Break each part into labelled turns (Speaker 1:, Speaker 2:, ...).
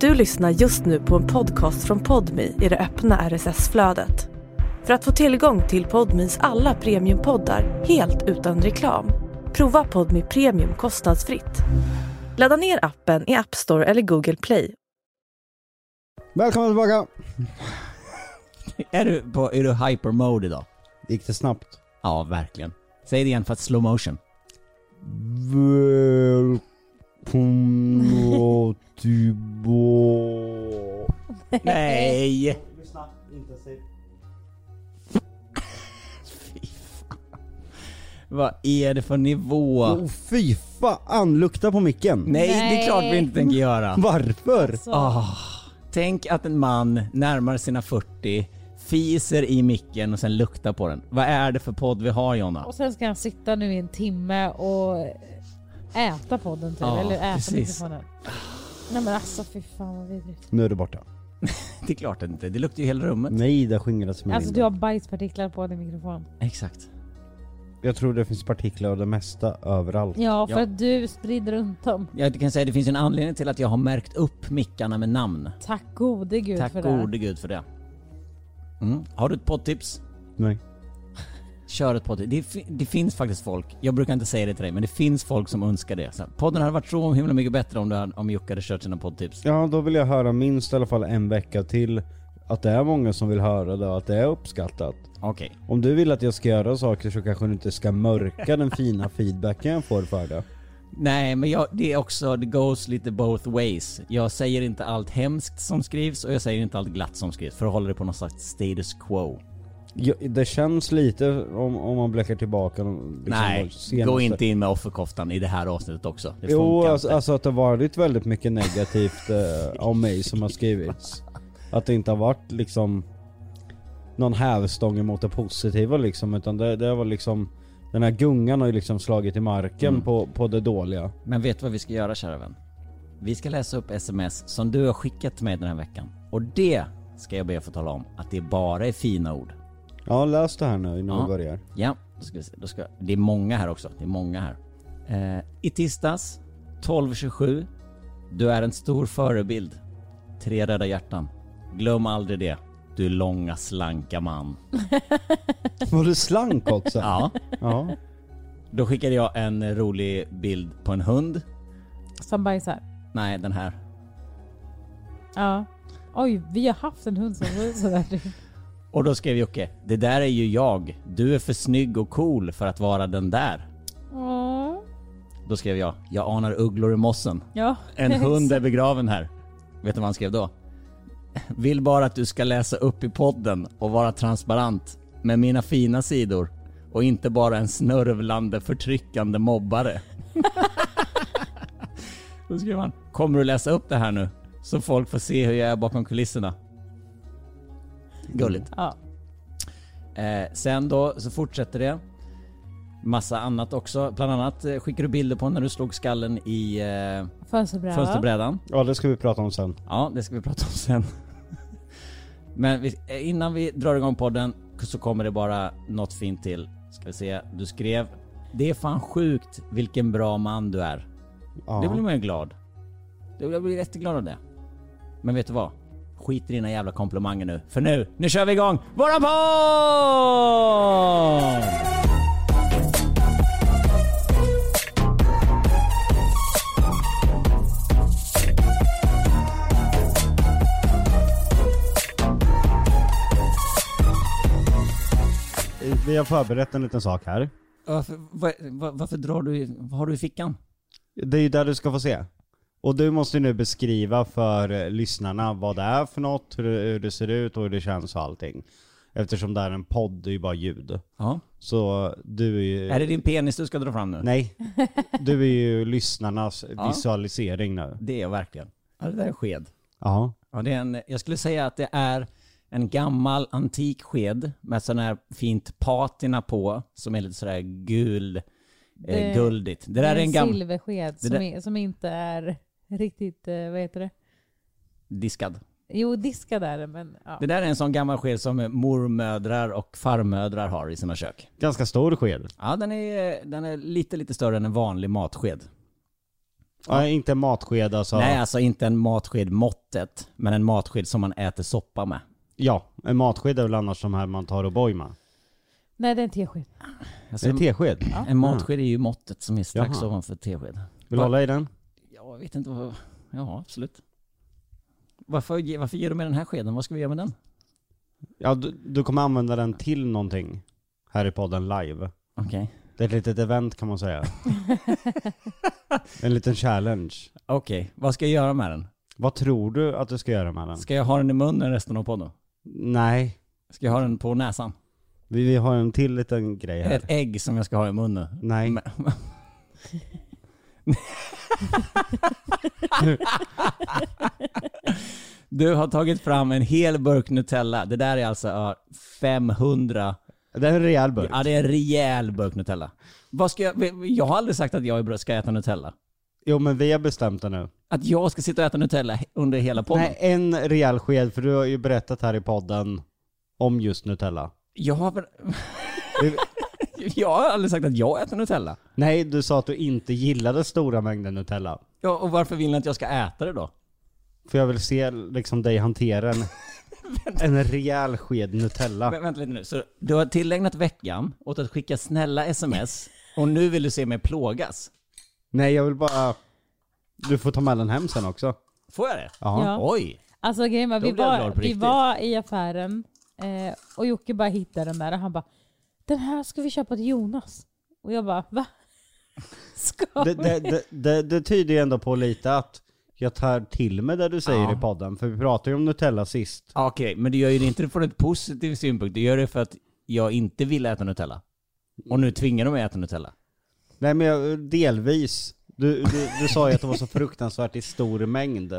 Speaker 1: Du lyssnar just nu på en podcast från Podmi i det öppna RSS-flödet. För att få tillgång till Podmis alla premiumpoddar helt utan reklam, prova Podmi Premium kostnadsfritt. Ladda ner appen i App Store eller Google Play.
Speaker 2: Välkomna tillbaka!
Speaker 3: Är du på är du hypermode idag?
Speaker 2: Gick det snabbt?
Speaker 3: Ja, verkligen. Säg det igen för att slow motion.
Speaker 2: Välkomna tillbaka...
Speaker 3: Nej! Vad är det för nivå?
Speaker 2: Åh fy fan, lukta på micken!
Speaker 3: Nej, det är klart vi inte tänker göra.
Speaker 2: Varför?
Speaker 4: Alltså.
Speaker 3: Ah, tänk att en man närmar sina 40, fiser i micken och sen luktar på den. Vad är det för podd vi har Jonna?
Speaker 4: Och sen ska han sitta nu i en timme och äta podden typ,
Speaker 3: Ja,
Speaker 4: eller äta
Speaker 3: precis.
Speaker 4: mikrofonen. Nej men alltså fy fan vad vidrigt.
Speaker 2: Nu är du borta.
Speaker 3: Det är klart det inte, det luktar ju hela rummet.
Speaker 2: Nej, där skingrades min
Speaker 4: Alltså
Speaker 2: linda.
Speaker 4: du har bajspartiklar på din mikrofon.
Speaker 3: Exakt.
Speaker 2: Jag tror det finns partiklar av det mesta överallt.
Speaker 4: Ja för
Speaker 3: Ja.
Speaker 4: att du sprider runt dem.
Speaker 3: Jag kan säga att det finns en anledning till att jag har märkt upp mickarna med namn.
Speaker 4: Tack gode gud
Speaker 3: Tack
Speaker 4: för
Speaker 3: gode
Speaker 4: det.
Speaker 3: gud för det. Mm. Har du ett poddtips?
Speaker 2: Nej.
Speaker 3: Kör ett poddtips. Det, fi- det finns faktiskt folk, jag brukar inte säga det till dig, men det finns folk som önskar det. Så här, podden hade varit så himla mycket bättre om, du hade, om Jocke hade kört sina poddtips.
Speaker 2: Ja, då vill jag höra minst i alla fall en vecka till att det är många som vill höra det och att det är uppskattat.
Speaker 3: Okej.
Speaker 2: Om du vill att jag ska göra saker så kanske du inte ska mörka den fina feedbacken jag får för det.
Speaker 3: Nej, men jag, det är också, det goes lite both ways. Jag säger inte allt hemskt som skrivs och jag säger inte allt glatt som skrivs för att hålla det på någon slags status quo.
Speaker 2: Ja, det känns lite om, om man blickar tillbaka de- liksom, de
Speaker 3: Nej,
Speaker 2: senaste-
Speaker 3: gå inte in med offerkoftan i det här avsnittet också. Det
Speaker 2: Jo,
Speaker 3: funkar
Speaker 2: alltså,
Speaker 3: inte.
Speaker 2: alltså att det har varit väldigt mycket negativt eh, om mig som har skrivits. Att det inte har varit liksom någon hävstång emot det positiva liksom utan det, det var liksom den här gungan har ju liksom slagit i marken
Speaker 3: Mm.
Speaker 2: på, på det dåliga.
Speaker 3: Men vet du vad vi ska göra kära vän? Vi ska läsa upp sms som du har skickat till mig den här veckan. Och det ska jag be att få tala om att det bara är fina ord.
Speaker 2: Ja läs det här nu innan
Speaker 3: Ja.
Speaker 2: vi börjar.
Speaker 3: Ja, då ska vi se. Då ska, det är många här också. Det är många här. Eh, I tisdags 12.27. Du är en stor förebild. Tre röda hjärtan. Glöm aldrig det. Du långa slanka man.
Speaker 2: Var du slank också?
Speaker 3: Ja.
Speaker 2: ja.
Speaker 3: Då skickade jag en rolig bild på en hund.
Speaker 4: Som bajsar.
Speaker 3: Nej, den här.
Speaker 4: Ja. Oj, vi har haft en hund som var sådär. typ.
Speaker 3: Och då skrev Jocke, det där är ju jag. Du är för snygg och cool för att vara den där.
Speaker 4: Åh.
Speaker 3: Då skrev jag, jag anar ugglor i mossen.
Speaker 4: Ja.
Speaker 3: En hund är begraven här. Vet du vad han skrev då? Vill bara att du ska läsa upp i podden och vara transparent med mina fina sidor och inte bara en snörvlande förtryckande mobbare. Då skrev han, kommer du läsa upp det här nu? Så folk får se hur jag är bakom kulisserna. Gulligt.
Speaker 4: Ja.
Speaker 3: Eh, sen då så fortsätter det. Massa annat också. Bland annat eh, skickar du bilder på när du slog skallen i eh,
Speaker 4: Fönsterbräda.
Speaker 3: fönsterbrädan.
Speaker 2: ja det ska vi prata om sen.
Speaker 3: Ja, det ska vi prata om sen. Men vi, eh, innan vi drar igång podden så kommer det bara något fint till. Ska vi se. Du skrev Det är fan sjukt vilken bra man du är. Det blir
Speaker 2: Ja.
Speaker 3: man ju glad. Det- Jag blir jätteglad av det. Men vet du vad? Skit i dina jävla komplimanger nu. För nu, nu kör vi igång våran podd!
Speaker 2: Vi har förberett en liten sak här.
Speaker 3: Varför, va- va- varför drar du, i- vad har du i fickan?
Speaker 2: Det är ju där du ska få se. Och du måste nu beskriva för eh, lyssnarna vad det är för något, hur det, hur det ser ut och hur det känns och allting. Eftersom det är en podd, det är ju bara ljud.
Speaker 3: Ja.
Speaker 2: Så du är ju...
Speaker 3: Är det din penis du ska dra fram nu?
Speaker 2: Nej. Du är ju lyssnarnas
Speaker 3: Ja.
Speaker 2: visualisering nu.
Speaker 3: Det är jag verkligen. Ja, det där är sked.
Speaker 2: Ja.
Speaker 3: Ja, det är en, jag skulle säga att det är en gammal antik sked med sån här fint patina på som är lite sådär gul,
Speaker 4: Det-
Speaker 3: eh, guldigt. Det där är en gammal
Speaker 4: silversked
Speaker 3: Det
Speaker 4: som,
Speaker 3: där-
Speaker 4: är, som inte är riktigt, eh, vad heter det?
Speaker 3: diskad.
Speaker 4: Jo, diskad är det men ja.
Speaker 3: Det där är en sån gammal sked som mormödrar och farmödrar har i sina kök.
Speaker 2: Ganska stor sked.
Speaker 3: Ja, den är, den är lite, lite större än en vanlig matsked.
Speaker 2: Ja, inte en matsked alltså.
Speaker 3: Nej, alltså inte en matsked måttet, men en matsked som man äter soppa med.
Speaker 2: Ja, en matsked är väl annars de här man tar och boj med.
Speaker 4: Nej, det är en tesked.
Speaker 3: Alltså,
Speaker 2: Det är en tesked.
Speaker 3: en- en matsked är ju måttet som är strax
Speaker 2: Jaha.
Speaker 3: ovanför tesked.
Speaker 2: Vill du hålla i den?
Speaker 3: Ja, jag vet inte vad... Ja, absolut. Varför, ge- varför ger du mig den här skeden? Vad ska vi göra med den?
Speaker 2: Ja, du, du kommer använda den till någonting här i podden live.
Speaker 3: Okej.
Speaker 2: Det är ett litet event kan man säga. en liten challenge.
Speaker 3: Okej, vad ska jag göra med den?
Speaker 2: Vad tror du att du ska göra med den?
Speaker 3: Ska jag ha den i munnen resten av podden?
Speaker 2: Nej,
Speaker 3: Ska jag ha den på näsan?
Speaker 2: vi, vi har en till liten grej här.
Speaker 3: Ett ägg som jag ska ha i munnen?
Speaker 2: Nej.
Speaker 3: Men- Du har tagit fram en hel burk Nutella. Det där är alltså ja, 500...
Speaker 2: Det är en rejäl burk.
Speaker 3: Ja, det är en rejäl burk Nutella. Vad ska jag... jag har aldrig sagt att jag ska äta Nutella.
Speaker 2: Jo men vi har bestämt det nu.
Speaker 3: Att jag ska sitta och äta Nutella under hela podden.
Speaker 2: Nej, en rejäl sked för du har ju berättat här i podden om just Nutella.
Speaker 3: Jag har... väl- jag har aldrig sagt att jag äter Nutella.
Speaker 2: Nej, du sa att du inte gillade stora mängder Nutella.
Speaker 3: Ja, och varför vill ni att jag ska äta det då?
Speaker 2: För jag vill se liksom dig hantera en, en rejäl sked Nutella.
Speaker 3: Men, vänta lite nu. Så du har tillägnat veckan åt att skicka snälla sms och nu vill du se mig plågas.
Speaker 2: Nej, jag vill bara... Du får ta med den hem sen också.
Speaker 3: Får jag det?
Speaker 2: Ja.
Speaker 4: Ja.
Speaker 3: Oj!
Speaker 4: Alltså grejen var,
Speaker 3: Då
Speaker 4: vi
Speaker 3: blev jag glad
Speaker 4: var,
Speaker 3: på
Speaker 4: vi
Speaker 3: riktigt.
Speaker 4: var i affären eh, och Jocke bara hittade den där och han bara Den här ska vi köpa till Jonas. Och jag bara va? Ska
Speaker 2: Det,
Speaker 4: vi?
Speaker 2: det, det, det, det tyder ju ändå på lite att jag tar till mig det du säger i podden. För vi pratade ju om Nutella sist.
Speaker 3: Ja, Okej, men du gör ju det inte från ett positiv synpunkt. Du gör det för att jag inte vill äta Nutella. Och nu tvingar de mig att äta Nutella.
Speaker 2: Nej men jag, delvis. Du, du, du sa ju att det var så fruktansvärt i stor mängd.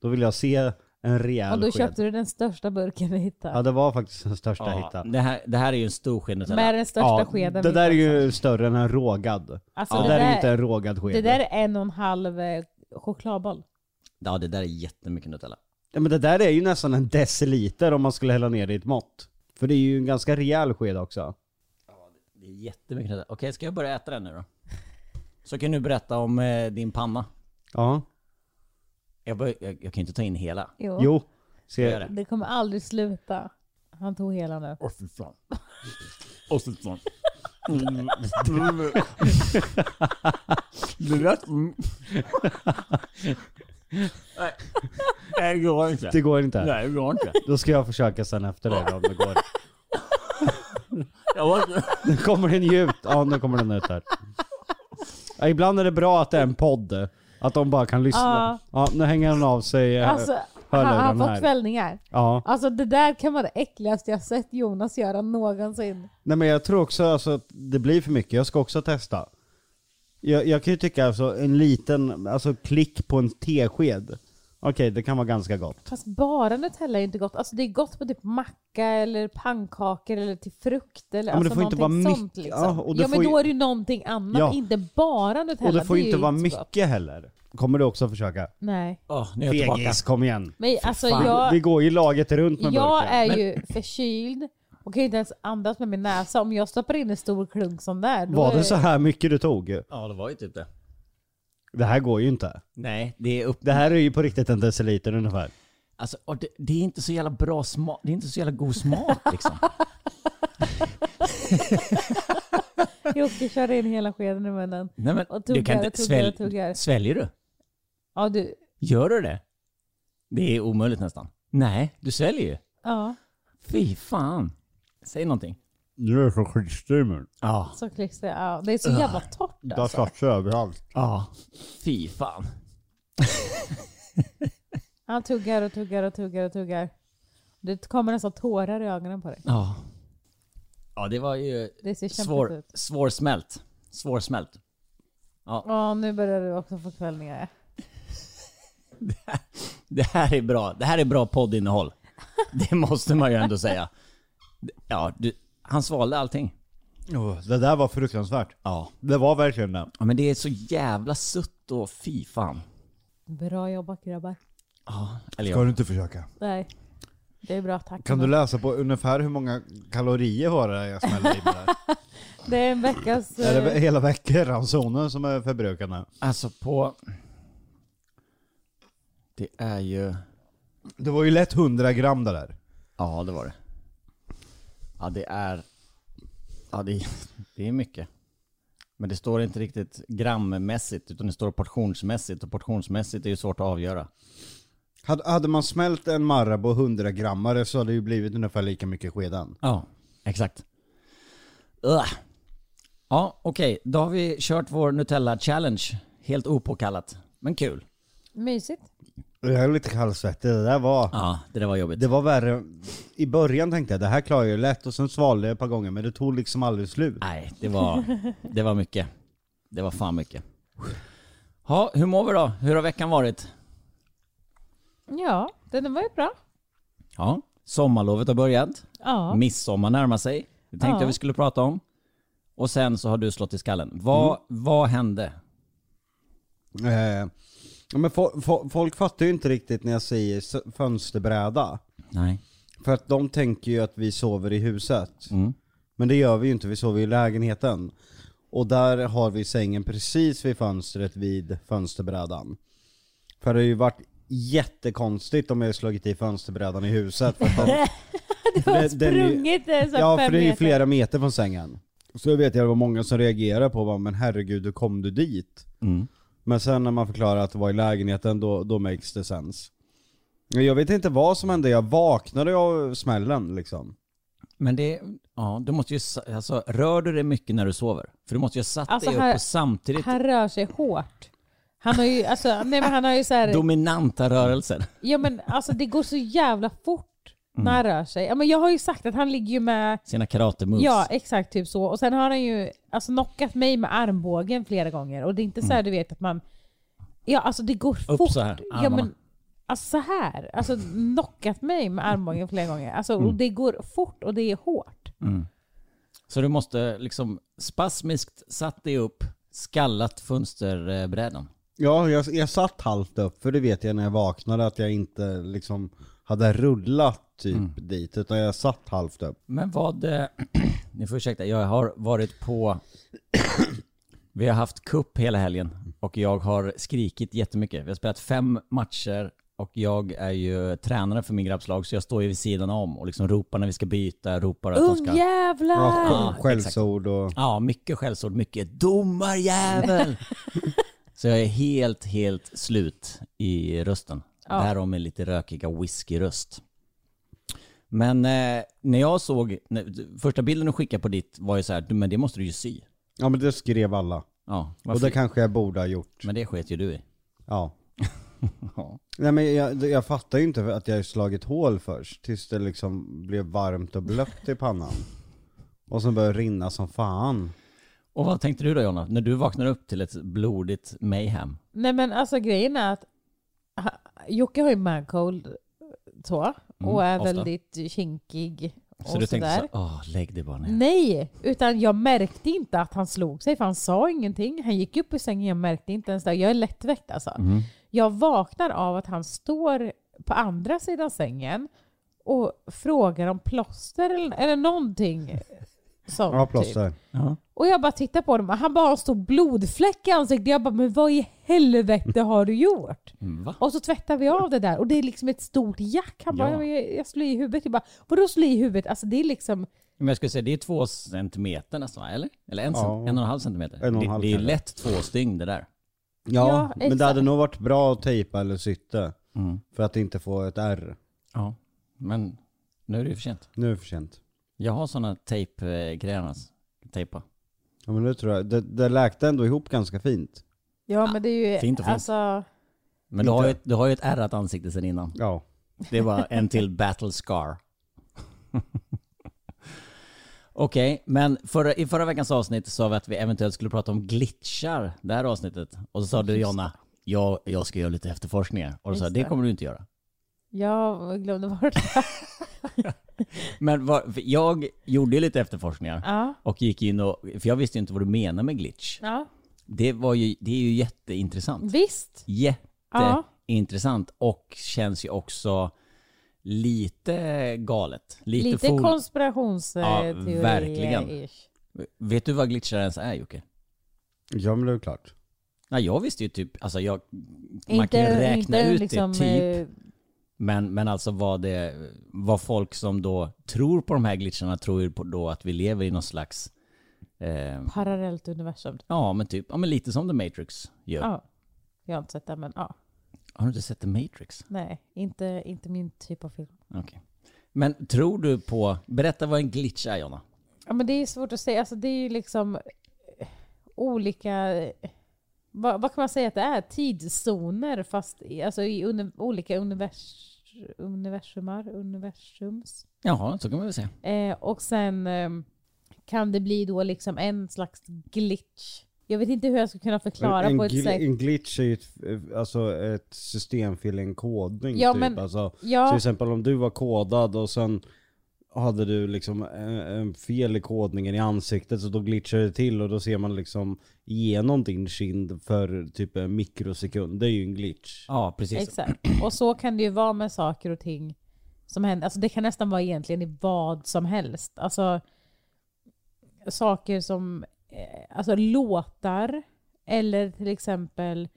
Speaker 2: Då vill jag se en rejäl
Speaker 4: Och då
Speaker 2: sked.
Speaker 4: köpte du den största burken vi
Speaker 2: Ja
Speaker 4: hittade.
Speaker 2: det var faktiskt den största jag
Speaker 3: Ja,
Speaker 2: hittade.
Speaker 3: det, här, det här är ju en stor sked Nutella.
Speaker 4: Med den största skeden
Speaker 2: det
Speaker 4: vi
Speaker 2: där är
Speaker 4: hittade.
Speaker 2: ju större än en rågad.
Speaker 4: Alltså,
Speaker 2: det,
Speaker 4: det,
Speaker 2: där är
Speaker 4: där,
Speaker 2: ju inte en rågad sked.
Speaker 4: det där är en och en halv eh, chokladboll.
Speaker 3: Ja, det där är jättemycket Nutella.
Speaker 2: Ja men det där är ju nästan en deciliter om man skulle hälla ner det i ett mått. För det är ju en ganska rejäl sked också.
Speaker 3: Det är jättemycket Nutella. Okej, ska jag börja äta den nu då? Så kan du berätta om eh, din panna.
Speaker 2: Ja.
Speaker 3: Jag, bör, jag, jag kan ju inte ta in hela.
Speaker 4: Jo.
Speaker 2: Jo.
Speaker 3: Jag
Speaker 2: Se.
Speaker 3: gör det.
Speaker 4: Det kommer aldrig sluta. Han tog hela nu.
Speaker 3: Åh fy fan. Åh fy fan. Mm. Det lät... Nej, det går inte.
Speaker 2: Det går inte.
Speaker 3: Nej, det går inte.
Speaker 2: Då ska jag försöka sen efter det då, om det går.
Speaker 3: Jag var...
Speaker 2: Nu kommer den ju ut. Ja nu kommer den ut här. Ja, ibland är det bra att det är en podd. Att de bara kan lyssna.
Speaker 4: Ja.
Speaker 2: Ja nu hänger den av sig. eh,
Speaker 4: Alltså, han
Speaker 2: hörluren
Speaker 4: han har
Speaker 2: här.
Speaker 4: fått svällningar.
Speaker 2: Ja.
Speaker 4: Alltså det där kan vara det äckligaste jag sett Jonas göra någonsin.
Speaker 2: Nej men jag tror också alltså, att det blir för mycket, jag ska också testa. Jag, jag kan ju tycka alltså en liten, alltså klick på en tesked. Okej, det kan vara ganska gott.
Speaker 4: Fast bara Nutella är inte gott. Alltså det är gott på typ macka eller pannkakor eller till frukt eller
Speaker 2: Ja, men det
Speaker 4: alltså
Speaker 2: får inte
Speaker 4: någonting
Speaker 2: vara
Speaker 4: sånt
Speaker 2: mycket.
Speaker 4: liksom.
Speaker 2: Ja,
Speaker 4: Ja,
Speaker 2: och det
Speaker 4: men
Speaker 2: får ju-
Speaker 4: då är det ju någonting annat,
Speaker 2: Ja.
Speaker 4: inte bara Nutella.
Speaker 2: Och det får ju
Speaker 4: är
Speaker 2: inte vara
Speaker 4: så gott.
Speaker 2: mycket heller. Kommer du också försöka?
Speaker 4: Nej.
Speaker 3: Åh, nu är jag tillbaka.
Speaker 2: Fegis, kom igen.
Speaker 4: Men alltså
Speaker 3: fan.
Speaker 2: Vi
Speaker 4: jag,
Speaker 2: går ju laget runt med
Speaker 4: jag
Speaker 2: burken.
Speaker 4: är ju förkyld och kan ju inte ens andas med min näsa. Om jag stoppar in en stor klunk sån där. då
Speaker 2: Var
Speaker 4: är-
Speaker 2: det så här mycket du tog?
Speaker 3: Ja, det var ju typ det.
Speaker 2: Det här går ju inte.
Speaker 3: Nej, det är upp...
Speaker 2: Det här är ju på riktigt en deciliter ungefär.
Speaker 3: Alltså, och det, det är inte så jävla bra smak. Det är inte så jävla god smak liksom.
Speaker 4: Jocke körde in hela skeden i munnen.
Speaker 3: Nej, men,
Speaker 4: Och tuggar och tuggar och tuggar.
Speaker 3: Sväljer du?
Speaker 4: Ja du,
Speaker 3: Gör du det? Det är omöjligt nästan. Nej, du sväljer ju.
Speaker 4: ja.
Speaker 3: Fy fan. Säg någonting.
Speaker 2: Du är så skitstig men.
Speaker 3: Ja.
Speaker 4: Så klistrar jag. Ja, det är så jävla torrt
Speaker 2: Det har
Speaker 4: alltså.
Speaker 2: satt sig överallt.
Speaker 3: Ja. Fy fan.
Speaker 4: Han tuggar och tuggar och tuggar och tuggar. Det kommer nästan tårar i ögonen på dig.
Speaker 3: Ja. Ja, det var ju
Speaker 4: Det ser kämpigt
Speaker 3: svår,
Speaker 4: ut.
Speaker 3: svårsmält. Svårsmält.
Speaker 4: Ja, nu börjar du också få kvällningar.
Speaker 3: Det här är bra. Det här är bra poddinnehåll. Det måste man ju ändå säga. Ja, du, han svalde allting.
Speaker 2: Oh, det där var fruktansvärt.
Speaker 3: Ja.
Speaker 2: Det var verkligen det.
Speaker 3: ja. Men det är så jävla sutt och fy fan.
Speaker 4: Bra jobbat grabbar.
Speaker 3: Ja. Eller ja.
Speaker 2: du inte försöka?
Speaker 4: Nej, det är bra tack.
Speaker 5: Kan du läsa på ungefär hur många kalorier var det jag smällde i mig där?
Speaker 4: det är en veckas...
Speaker 5: Är det
Speaker 4: eh,
Speaker 5: hela veckoransonen som är förbrukad nu?
Speaker 3: Alltså på... Det är ju...
Speaker 2: Det var ju lätt 100 gram det där.
Speaker 3: Ja, det var det. Ja, det är... Ja, det, det är mycket. Men det står inte riktigt grammässigt, utan det står portionsmässigt. Och portionsmässigt är ju svårt att avgöra.
Speaker 2: Hade, hade man smält en Marabou 100 grammare så hade det ju blivit ungefär lika mycket skedan.
Speaker 3: Ja, exakt. Ugh. Ja, okej. Då har vi kört vår Nutella-challenge. Helt opåkallat, men kul.
Speaker 4: Mysigt.
Speaker 2: Jag är lite kallsvettig, det där var...
Speaker 3: Ja, det där var jobbigt.
Speaker 2: Det var värre. I början tänkte jag det här klarar jag ju lätt och sen svalde jag ett par gånger men det tog liksom aldrig slut.
Speaker 3: Nej, det var, det var mycket. Det var fan mycket. Ja, hur mår vi då? Hur har veckan varit?
Speaker 4: Ja, den var ju bra.
Speaker 3: Ja, sommarlovet har börjat.
Speaker 4: Ja.
Speaker 3: Midsommar närmar sig. Det tänkte
Speaker 4: Ja.
Speaker 3: jag vi skulle prata om. Och sen så har du slått i skallen. Vad,
Speaker 4: Mm.
Speaker 3: vad hände?
Speaker 2: Eh, ja, men fo- fo- folk fattar ju inte riktigt när jag säger s- fönsterbräda.
Speaker 3: Nej.
Speaker 2: För att de tänker ju att vi sover i huset.
Speaker 3: Mm.
Speaker 2: Men det gör vi ju inte, vi sover i lägenheten. Och där har vi sängen precis vid fönstret vid fönsterbrädan. För det har ju varit jättekonstigt om jag slagit i fönsterbrädan i huset. För att de,
Speaker 4: Du har
Speaker 2: Den- den är ju-
Speaker 4: sprungit eh, så här
Speaker 2: ja
Speaker 4: fem
Speaker 2: för det är ju
Speaker 4: meter.
Speaker 2: flera meter från sängen. Så jag vet jag det var många som reagerade på bara, men herregud hur kom du dit?
Speaker 3: Mm.
Speaker 2: Men sen när man förklarar att det var i lägenheten då, då makes det sense. Men Jag vet inte vad som hände, jag vaknade av smällen liksom.
Speaker 3: Men det, ja, du måste ju, sa- alltså, rör du dig mycket när du sover? För du måste ju ha satt
Speaker 4: Alltså,
Speaker 3: dig
Speaker 4: här-
Speaker 3: upp och samtidigt
Speaker 4: Han rör sig hårt. Han har ju, alltså, nej, men han har ju så här,
Speaker 3: dominanta rörelser.
Speaker 4: ja, men, alltså, det går så jävla fort när han
Speaker 2: Mm.
Speaker 4: rör sig. Ja, men jag har ju sagt att han ligger ju med,
Speaker 3: Sina karate moves.
Speaker 4: ja exakt typ så. Och sen har han ju alltså, knockat mig med armbågen flera gånger. Och det är inte så här du vet att man, ja alltså det går
Speaker 3: Mm. Upp
Speaker 4: fort.
Speaker 3: så här,
Speaker 4: ja,
Speaker 3: armarna.
Speaker 4: men, alltså så här. Alltså knockat mig med armbågen flera gånger. Alltså, och
Speaker 3: Mm.
Speaker 4: det går fort och det är hårt.
Speaker 3: Så du måste liksom spasmiskt satt dig upp, skallat fönsterbrädan.
Speaker 2: Ja, jag, jag satt halvt upp för det vet jag när jag vaknade att jag inte liksom hade rullat typ dit utan jag satt halvt upp.
Speaker 3: Men vad... eh, Ni får ursäkta, jag har varit på... Vi har haft cup hela helgen och jag har skrikit jättemycket. Vi har spelat fem matcher och jag är ju tränare för min grabbslag så jag står ju vid sidan om och liksom ropar när vi ska byta, ropar att de ska...
Speaker 4: Ungjävlar!
Speaker 2: Ja,
Speaker 3: exakt.
Speaker 2: skällsord och...
Speaker 3: Ja, mycket skällsord, mycket domarjävel. så jag är helt, helt slut i rösten.
Speaker 4: Ja.
Speaker 3: Därom min lite rökiga whiskyröst. Men eh, när jag såg, när, d- första bilden du skickade på ditt var ju så här, "Du, men det måste du ju sy.
Speaker 2: Ja men det skrev alla.
Speaker 3: Ja,
Speaker 2: Och
Speaker 3: varför?
Speaker 2: det kanske jag borde ha gjort.
Speaker 3: Men det sket ju du i.
Speaker 2: Ja.
Speaker 3: Ja.
Speaker 2: Nej men jag, jag fattar ju inte för att jag slagit hål först tills det liksom blev varmt och blött i pannan. Och sen började det rinna som fan.
Speaker 3: Och vad tänkte du då Jonna, när du vaknar upp till ett blodigt mayhem?
Speaker 4: Nej men alltså grejen är att ha- Jocke har ju mancold så och är
Speaker 3: Mm, ofta.
Speaker 4: väldigt kinkig och
Speaker 3: Så du tänkte
Speaker 4: sådär.
Speaker 3: så, åh lägg dig bara ner.
Speaker 4: Nej, utan jag märkte inte att han slog sig för han sa ingenting. Han gick upp i sängen, jag märkte inte ens det. Jag är lättväckt alltså.
Speaker 2: Mm.
Speaker 4: Jag vaknar av att han står på andra sidan sängen och frågar om plåster eller, eller någonting. Sånt,
Speaker 2: Ja
Speaker 4: typ.
Speaker 2: plåster.
Speaker 3: Ja.
Speaker 4: Och jag bara tittar på honom han bara har en stor blodfläck i ansiktet. Jag bara, men vad i helvete har du gjort?
Speaker 3: Mm, Va?
Speaker 4: Och så tvättar vi av det där och det är liksom ett stort jack. Han bara,
Speaker 3: Ja.
Speaker 4: "Ja, men jag, jag slår i huvudet. Jag bara, vadå slå i huvudet? Alltså det är liksom,
Speaker 3: Men jag skulle säga det är två centimeter nästan, eller? Eller en,
Speaker 2: Ja.
Speaker 3: cent- en och en halv centimeter.
Speaker 2: En och en
Speaker 3: Det-
Speaker 2: halv
Speaker 3: det är ju
Speaker 2: kanske.
Speaker 3: lätt två stygn det där.
Speaker 2: Ja,
Speaker 4: Ja,
Speaker 2: men det
Speaker 4: exakt.
Speaker 2: hade nog varit bra att tejpa eller sytte.
Speaker 3: Mm.
Speaker 2: För att inte få ett R.
Speaker 3: Ja, men nu är det ju för sent.
Speaker 2: Nu är det för sent.
Speaker 3: Jag har sådana tejpgrejer alltså. Tejpa.
Speaker 2: Ja men det tror jag. Det, det läkte ändå ihop ganska fint.
Speaker 4: ja men det är ju,
Speaker 3: fint och fint.
Speaker 4: alltså,
Speaker 3: Men du har, ju, ett- du har ju ett ärrat ansikte sedan innan.
Speaker 2: Ja.
Speaker 3: Det var en till battle scar. Okej, men förra, i förra veckans avsnitt sa vi att vi eventuellt skulle prata om glitchar, det här avsnittet. Och så sa du Jonna, jag, jag ska göra lite efterforskningar. Och då sa jag,
Speaker 4: Just
Speaker 3: det
Speaker 4: det.
Speaker 3: kommer du inte göra.
Speaker 4: jag glömde bort det.
Speaker 3: Men vad- för jag gjorde ju lite efterforskningar.
Speaker 4: Ja,
Speaker 3: Och gick in och, för jag visste ju inte vad du menar med glitch.
Speaker 4: ja.
Speaker 3: Det, var ju, det är ju jätteintressant.
Speaker 4: Visst. Ja.
Speaker 3: jätteintressant och känns ju också lite galet. Lite,
Speaker 4: Lite,
Speaker 3: fol-
Speaker 4: konspirationsteori.
Speaker 3: Ja, verkligen. Vet du vad glitchar ens är Jocke?
Speaker 2: Ja men det är klart.
Speaker 3: Nej, jag visste ju typ, alltså jag man kan ju räkna ut
Speaker 4: liksom,
Speaker 3: det typ.
Speaker 4: eh,
Speaker 3: Men, men alltså vad, det, vad folk som då tror på de här glitcharna tror ju på då att vi lever i någon slags... Eh,
Speaker 4: parallellt universum.
Speaker 3: ja men typ, ja men lite som The Matrix gör.
Speaker 4: Ja. Jag har inte sett det, men ja.
Speaker 3: Har du inte sett The Matrix?
Speaker 4: Nej, inte, inte min typ av film.
Speaker 3: Okej. Men tror du på... Berätta vad en glitch är Jonna.
Speaker 4: Ja, men det är svårt att säga. Alltså, det är ju liksom eh, olika... eh, Vad, vad kan man säga att det är? Tidszoner fast i, alltså, i uni, olika univers, universumar, universums.
Speaker 3: Jaha, så kan man väl säga.
Speaker 4: Eh, och sen eh, kan det bli då liksom en slags glitch. Jag vet inte hur jag ska kunna förklara
Speaker 2: en,
Speaker 4: på ett
Speaker 2: gl-
Speaker 4: sätt.
Speaker 2: en glitch är ju ett, eh, alltså ett systemfel, i en kodning
Speaker 4: Ja,
Speaker 2: typ.
Speaker 4: men-
Speaker 2: Alltså, Till
Speaker 4: Ja,
Speaker 2: exempel om du var kodad och sen hade du liksom en, en fel i kodningen i ansiktet så då glitchar det till och då ser man liksom igenom din kind för typ en mikrosekund. Det är ju en glitch.
Speaker 3: Ja, precis.
Speaker 4: exakt. Och så kan det ju vara med saker och ting som händer. Alltså det kan nästan vara egentligen i vad som helst. Alltså saker som, eh, alltså låtar eller till exempel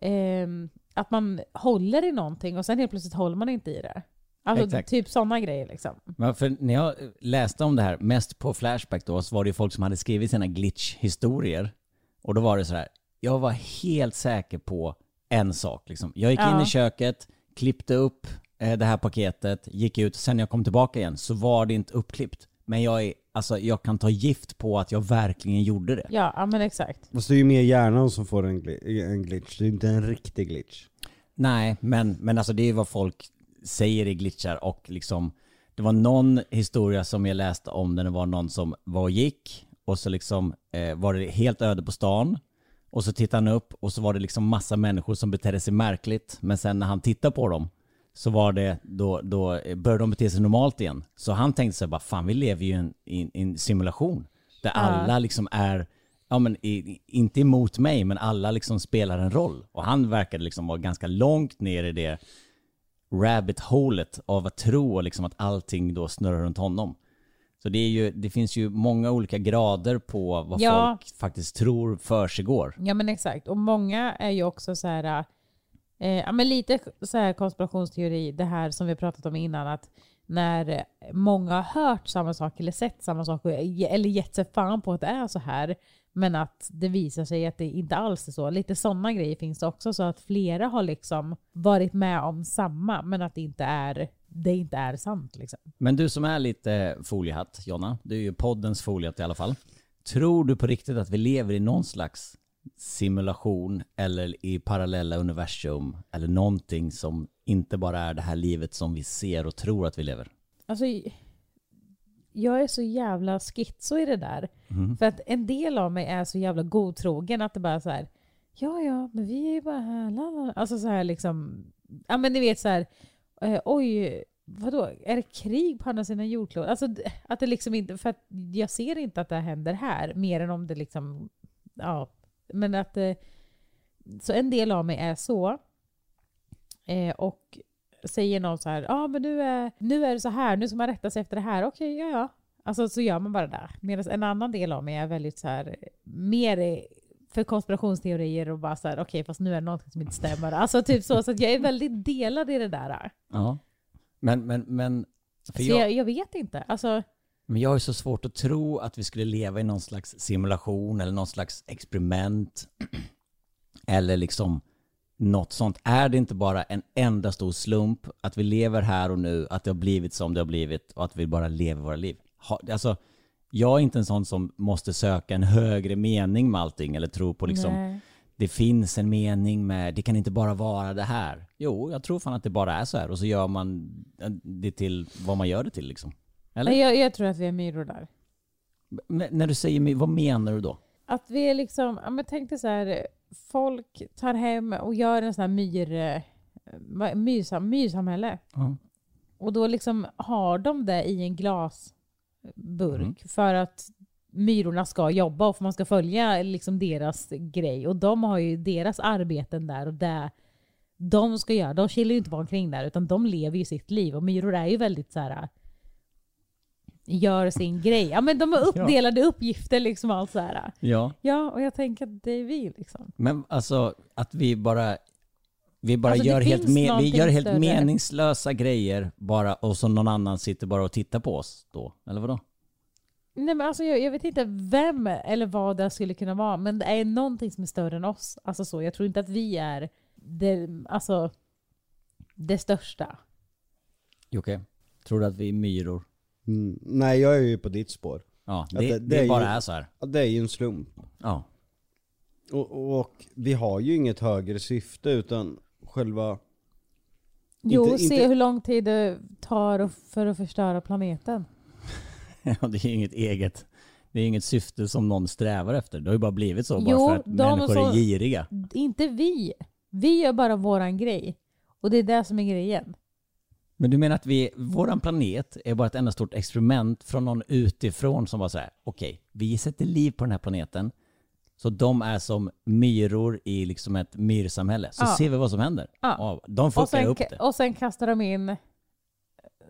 Speaker 4: ehm, att man håller i någonting och sen helt plötsligt håller man inte i det. Alltså
Speaker 3: Exakt.
Speaker 4: typ sådana grejer liksom.
Speaker 3: Men för när jag läste om det här, mest på Flashback då, så var det ju folk som hade skrivit sina glitch-historier. Och då var det så här, jag var helt säker på en sak liksom. Jag gick in
Speaker 4: Ja.
Speaker 3: i köket, klippte upp eh, det här paketet, gick ut, sen när jag kom tillbaka igen så var det inte uppklippt. Men jag, är, alltså, jag kan ta gift på att jag verkligen gjorde det.
Speaker 4: Ja, ja men exakt.
Speaker 2: Fast det är ju mer hjärnan som får en, gli- en glitch, det är inte en riktig glitch.
Speaker 3: Nej, men, men alltså det är vad folk säger i glitchar och liksom det var någon historia som jag läste om där det var någon som var och gick och så liksom eh, var det helt öde på stan och så tittade han upp och så var det liksom massa människor som betedde sig märkligt men sen när han tittade på dem så var det då, då eh, började de bete sig normalt igen. Så han tänkte sig bara fan vi lever ju i en, i en simulation där alla liksom är ja, men i, i- inte emot mig, men alla liksom spelar en roll. Och han verkade liksom vara ganska långt ner i det rabbit holet av att tro och liksom att allting då snurrar runt honom. Så det, är ju, det finns ju många olika grader på vad
Speaker 4: Ja.
Speaker 3: folk faktiskt tror för sig går.
Speaker 4: Ja men exakt. Och många är ju också så här, eh, ja men lite så här konspirationsteori, det här som vi pratat om innan, att när många har hört samma sak eller sett samma sak och- eller gett sig fan på att det är så här, men att det visar sig att det inte alls är så. Lite sådana grejer finns det också, så att flera har liksom varit med om samma, men att det inte är, det inte är sant liksom.
Speaker 3: Men du som är lite foliehatt, Jonna, du är ju poddens foliehatt i alla fall. Tror du på riktigt att vi lever i någon slags simulation eller i parallella universum eller någonting som inte bara är det här livet som vi ser och tror att vi lever?
Speaker 4: Alltså, jag är så jävla schizo i det där.
Speaker 3: Mm.
Speaker 4: För att en del av mig är så jävla godtrogen att det bara är så här, ja ja, men vi är ju bara här, la, la, la." Alltså så här liksom, ja men ni vet så här, eh, oj, vadå, är det krig på andra sidan jordklotet? Alltså d- att det liksom inte, för att jag ser inte att det händer här, mer än om det liksom, ja, men att, eh, så en del av mig är så. Eh, och säger någon så här, ja ah, men nu är, nu är det så här, nu ska man rätta sig efter det här, okej, ja ja. Alltså så gör man bara det. Medan en annan del av mig är väldigt så här, mer i- för konspirationsteorier och bara så här, okej fast nu är det någonting som inte stämmer. Alltså typ så, så att jag är väldigt delad i det där.
Speaker 3: Ja. Men, men, men, för
Speaker 4: Så
Speaker 3: jag,
Speaker 4: jag, jag vet inte. Alltså,
Speaker 3: men jag har ju så svårt att tro att vi skulle leva i någon slags simulation eller någon slags experiment eller liksom något sånt. Är det inte bara en enda stor slump att vi lever här och nu, att det har blivit som det har blivit och att vi bara lever våra liv? Ha, alltså, jag är inte en sån som måste söka en högre mening med allting eller tro på liksom
Speaker 4: nej.
Speaker 3: det finns en mening med, det kan inte bara vara det här. Jo, jag tror fan att det bara är så här och så gör man eh, det till vad man gör det till liksom. Eller?
Speaker 4: Nej, jag, jag tror att vi är myror där.
Speaker 3: Men när du säger, mig, vad menar du då?
Speaker 4: Att vi är liksom, ja men tänk dig så här, folk tar hem och gör en sån här myr, eh, vad- myrsam, myrsamhälle.
Speaker 3: Ja.
Speaker 4: Och då liksom har de det i en glasburk
Speaker 3: Mm.
Speaker 4: för att myrorna ska jobba och för man ska följa liksom deras grej. Och de har ju deras arbeten där och det de ska göra. De chillar ju inte bara omkring där utan de lever ju sitt liv. Och myror är ju väldigt så här gör sin grej. Ja men de har uppdelade uppgifter liksom och allt så här.
Speaker 3: ja.
Speaker 4: Ja, och jag tänker att det är vi liksom.
Speaker 3: Men alltså att vi bara Vi bara
Speaker 4: Alltså, det
Speaker 3: gör, helt,
Speaker 4: finns
Speaker 3: me- vi
Speaker 4: någonting
Speaker 3: gör helt
Speaker 4: större.
Speaker 3: meningslösa grejer bara och så någon annan sitter bara och tittar på oss då, eller vadå?
Speaker 4: Nej men alltså jag, jag vet inte vem eller vad det skulle kunna vara, men det är någonting som är större än oss. Alltså så, jag tror inte att vi är det, alltså, det största.
Speaker 3: Jocke, tror du att vi är myror?
Speaker 2: Mm, nej jag är ju på ditt spår.
Speaker 3: Ja, det,
Speaker 2: Ja, det-
Speaker 3: det,
Speaker 2: det är ju-
Speaker 3: bara är så här.
Speaker 2: Ja, Det är ju en slump.
Speaker 3: Ja.
Speaker 2: Och, och vi har ju inget högre syfte utan själva...
Speaker 4: Jo,
Speaker 2: Inte-
Speaker 4: se
Speaker 2: inte-
Speaker 4: hur lång tid det tar och- för att förstöra planeten.
Speaker 3: Ja, det är ju inget eget. Det är inget syfte som någon strävar efter. Det har ju bara blivit så
Speaker 4: Jo,
Speaker 3: bara för att
Speaker 4: de
Speaker 3: människor är
Speaker 4: som-
Speaker 3: giriga.
Speaker 4: Inte vi. Vi gör bara våran grej. Och det är det som är grejen.
Speaker 3: Men du menar att vi, våran planet är bara ett enda stort experiment från någon utifrån som var så här, okej, vi sätter liv på den här planeten. Så de är som myror i liksom ett myrsamhälle. Så
Speaker 4: Ja.
Speaker 3: ser vi vad som händer.
Speaker 4: Ja.
Speaker 3: de
Speaker 4: Och
Speaker 3: fuckar
Speaker 4: sen,
Speaker 3: upp det.
Speaker 4: och sen kastar de in eh,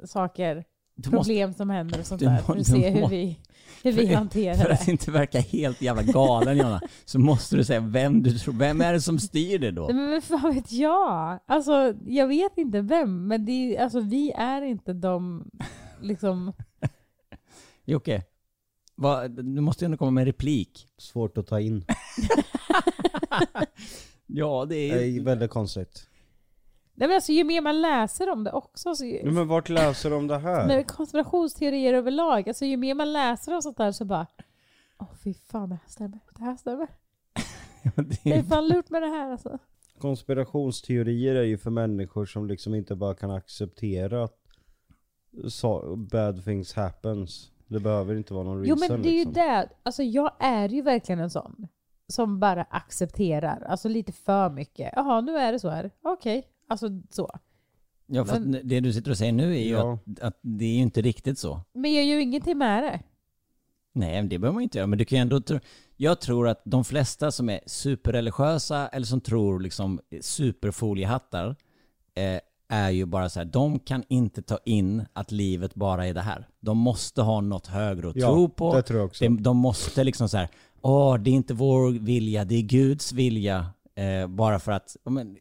Speaker 4: saker,
Speaker 3: Du måste,
Speaker 4: problem som händer och sånt
Speaker 3: du
Speaker 4: där.
Speaker 3: må-
Speaker 4: För
Speaker 3: du
Speaker 4: att se hur
Speaker 3: må-
Speaker 4: vi, hur vi
Speaker 3: för- för
Speaker 4: hanterar
Speaker 3: att
Speaker 4: det.
Speaker 3: inte verka helt jävla galen Jonna, så måste du säga vem du tror, vem är det som styr det då?
Speaker 4: Nej, Men vad fan vet jag? Alltså, jag vet inte vem, men det är, alltså, vi är inte de liksom...
Speaker 3: Jocke, vad, du måste ju ändå komma med en replik.
Speaker 2: Svårt att ta in.
Speaker 3: Ja, det
Speaker 2: Det
Speaker 3: är
Speaker 2: är väldigt konstigt.
Speaker 4: Nej, men alltså, ju mer man läser om det också, så
Speaker 2: Ja, Men vart läser de det här?
Speaker 4: men konspirationsteorier överlag, alltså, ju mer man läser om sånt där så bara Åh fy fan, det här stämmer. Det här stämmer.
Speaker 3: det
Speaker 4: Det är
Speaker 3: är,
Speaker 4: fan lurt med det här alltså.
Speaker 2: Konspirationsteorier är ju för människor som liksom inte bara kan acceptera att sa- bad things happens. Det behöver inte vara någon
Speaker 4: Jo
Speaker 2: reason
Speaker 4: men det är ju
Speaker 2: liksom.
Speaker 4: det, alltså jag är ju verkligen en sån. Som bara accepterar, alltså lite för mycket. Jaha, nu är det så här. Okej, alltså så.
Speaker 3: ja, för att det du sitter och säger nu är ju
Speaker 2: Ja.
Speaker 3: att, att det är ju inte riktigt så.
Speaker 4: Men jag gör ju ingenting med det.
Speaker 3: Nej, men det behöver man inte göra. Men du kan ju ändå tro, jag tror att de flesta som är superreligiösa eller som tror liksom superfoliehattar eh, är ju bara så här, de kan inte ta in att livet bara är det här. De måste ha något högre att
Speaker 2: Ja,
Speaker 3: tro på.
Speaker 2: det tror jag också.
Speaker 3: De, de måste liksom så här, åh, det är inte vår vilja, det är Guds vilja. Eh, bara för att ja, men,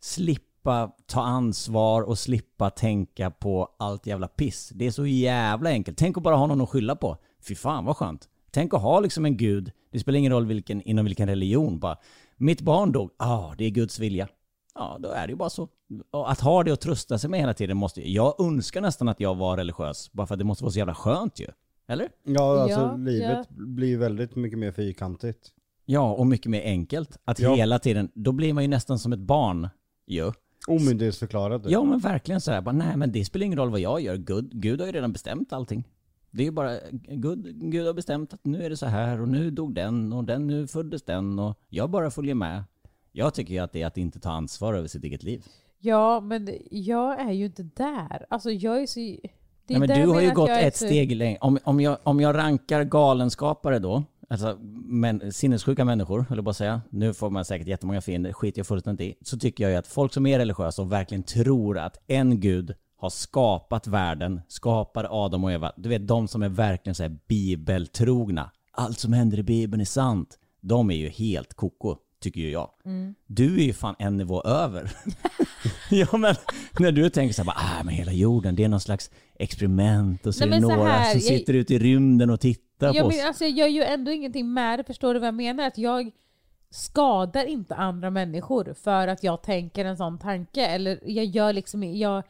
Speaker 3: slippa ta ansvar och slippa tänka på allt jävla piss. Det är så jävla enkelt. Tänk att bara ha någon att skylla på. Fy fan vad skönt. Tänk att ha liksom en gud. Det spelar ingen roll vilken, inom vilken religion. Bara, mitt barn dog. ah, det är Guds vilja. Ja, då är det ju bara så. Och att ha det och trösta sig med hela tiden måste Jag önskar nästan att jag var religiös. Bara för att det måste vara så jävla skönt ju. Eller?
Speaker 2: Ja alltså
Speaker 4: Ja,
Speaker 2: livet blir ju väldigt mycket mer fyrkantigt.
Speaker 3: Ja, och mycket mer enkelt. Att
Speaker 2: Ja.
Speaker 3: hela tiden, då blir man ju nästan som ett barn ju.
Speaker 2: Omyndighetsförklarat.
Speaker 3: Ja men verkligen så här, bara, nej men det spelar ingen roll vad jag gör, Gud, Gud har ju redan bestämt allting. Det är ju bara, Gud, Gud har bestämt att nu är det så här och nu dog den och den nu föddes den och jag bara följer med. Jag tycker ju att det är att inte ta ansvar över sitt eget liv.
Speaker 4: Ja, men jag är ju inte där. Alltså jag är så... Det
Speaker 3: Nej,
Speaker 4: är
Speaker 3: men
Speaker 4: där jag
Speaker 3: du har
Speaker 4: menar
Speaker 3: ju
Speaker 4: att
Speaker 3: gått
Speaker 4: jag är typ-
Speaker 3: ett
Speaker 4: så-
Speaker 3: steg längre. Om, om, jag, om jag rankar galenskapare då, alltså men, sinnessjuka människor, eller bara säga, nu får man säkert jättemånga fiender, skit jag fullständigt i, så tycker jag ju att folk som är religiösa och verkligen tror att en gud har skapat världen, skapar Adam och Eva, du vet de som är verkligen så här bibeltrogna, allt som händer i bibeln är sant, de är ju helt koko, tycker ju jag.
Speaker 4: Mm.
Speaker 3: Du är ju fan en nivå över. Ja men när du tänker såhär, ah, men hela jorden det är någon slags experiment och så
Speaker 4: Nej,
Speaker 3: är det
Speaker 4: men så
Speaker 3: några
Speaker 4: här,
Speaker 3: som
Speaker 4: jag-
Speaker 3: sitter ute i rymden och tittar
Speaker 4: Ja,
Speaker 3: på
Speaker 4: men
Speaker 3: oss.
Speaker 4: alltså jag gör ju ändå ingenting med det, förstår du vad jag menar? Att jag skadar inte andra människor för att jag tänker en sån tanke. Eller jag gör liksom, jag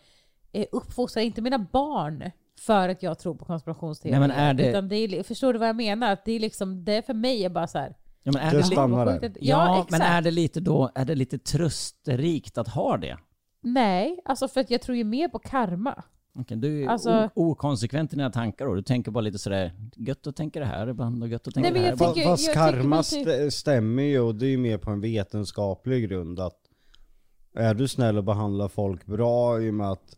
Speaker 4: eh, uppfostrar inte mina barn för att jag tror på konspirationsteorier.
Speaker 3: Nej, men är det-
Speaker 4: Utan det är, li- förstår du vad jag menar? Att det är liksom, det för mig är bara så här.
Speaker 3: Ja, men
Speaker 2: Det
Speaker 3: är
Speaker 2: är
Speaker 3: det, li-
Speaker 2: sant. Stannar
Speaker 4: "Vad sjukt
Speaker 2: där.
Speaker 4: att- Ja,
Speaker 3: ja
Speaker 4: exakt.
Speaker 3: men är det lite då, är det lite trösterikt att ha det?
Speaker 4: Nej, alltså för att jag tror ju mer på karma.
Speaker 3: Okej, du är ju
Speaker 4: Alltså-
Speaker 3: o- okonsekvent i dina tankar då. Du tänker bara lite sådär, gött att tänka det här ibland och gött att tänka
Speaker 4: Nej, men
Speaker 3: det här
Speaker 4: jag
Speaker 3: ibland.
Speaker 2: Fa-
Speaker 4: tycker-
Speaker 2: Fast
Speaker 4: jag tycker
Speaker 2: karma
Speaker 4: man typ-
Speaker 2: st- stämmer ju och det är ju mer på en vetenskaplig grund att är du snäll och behandlar folk bra i och med att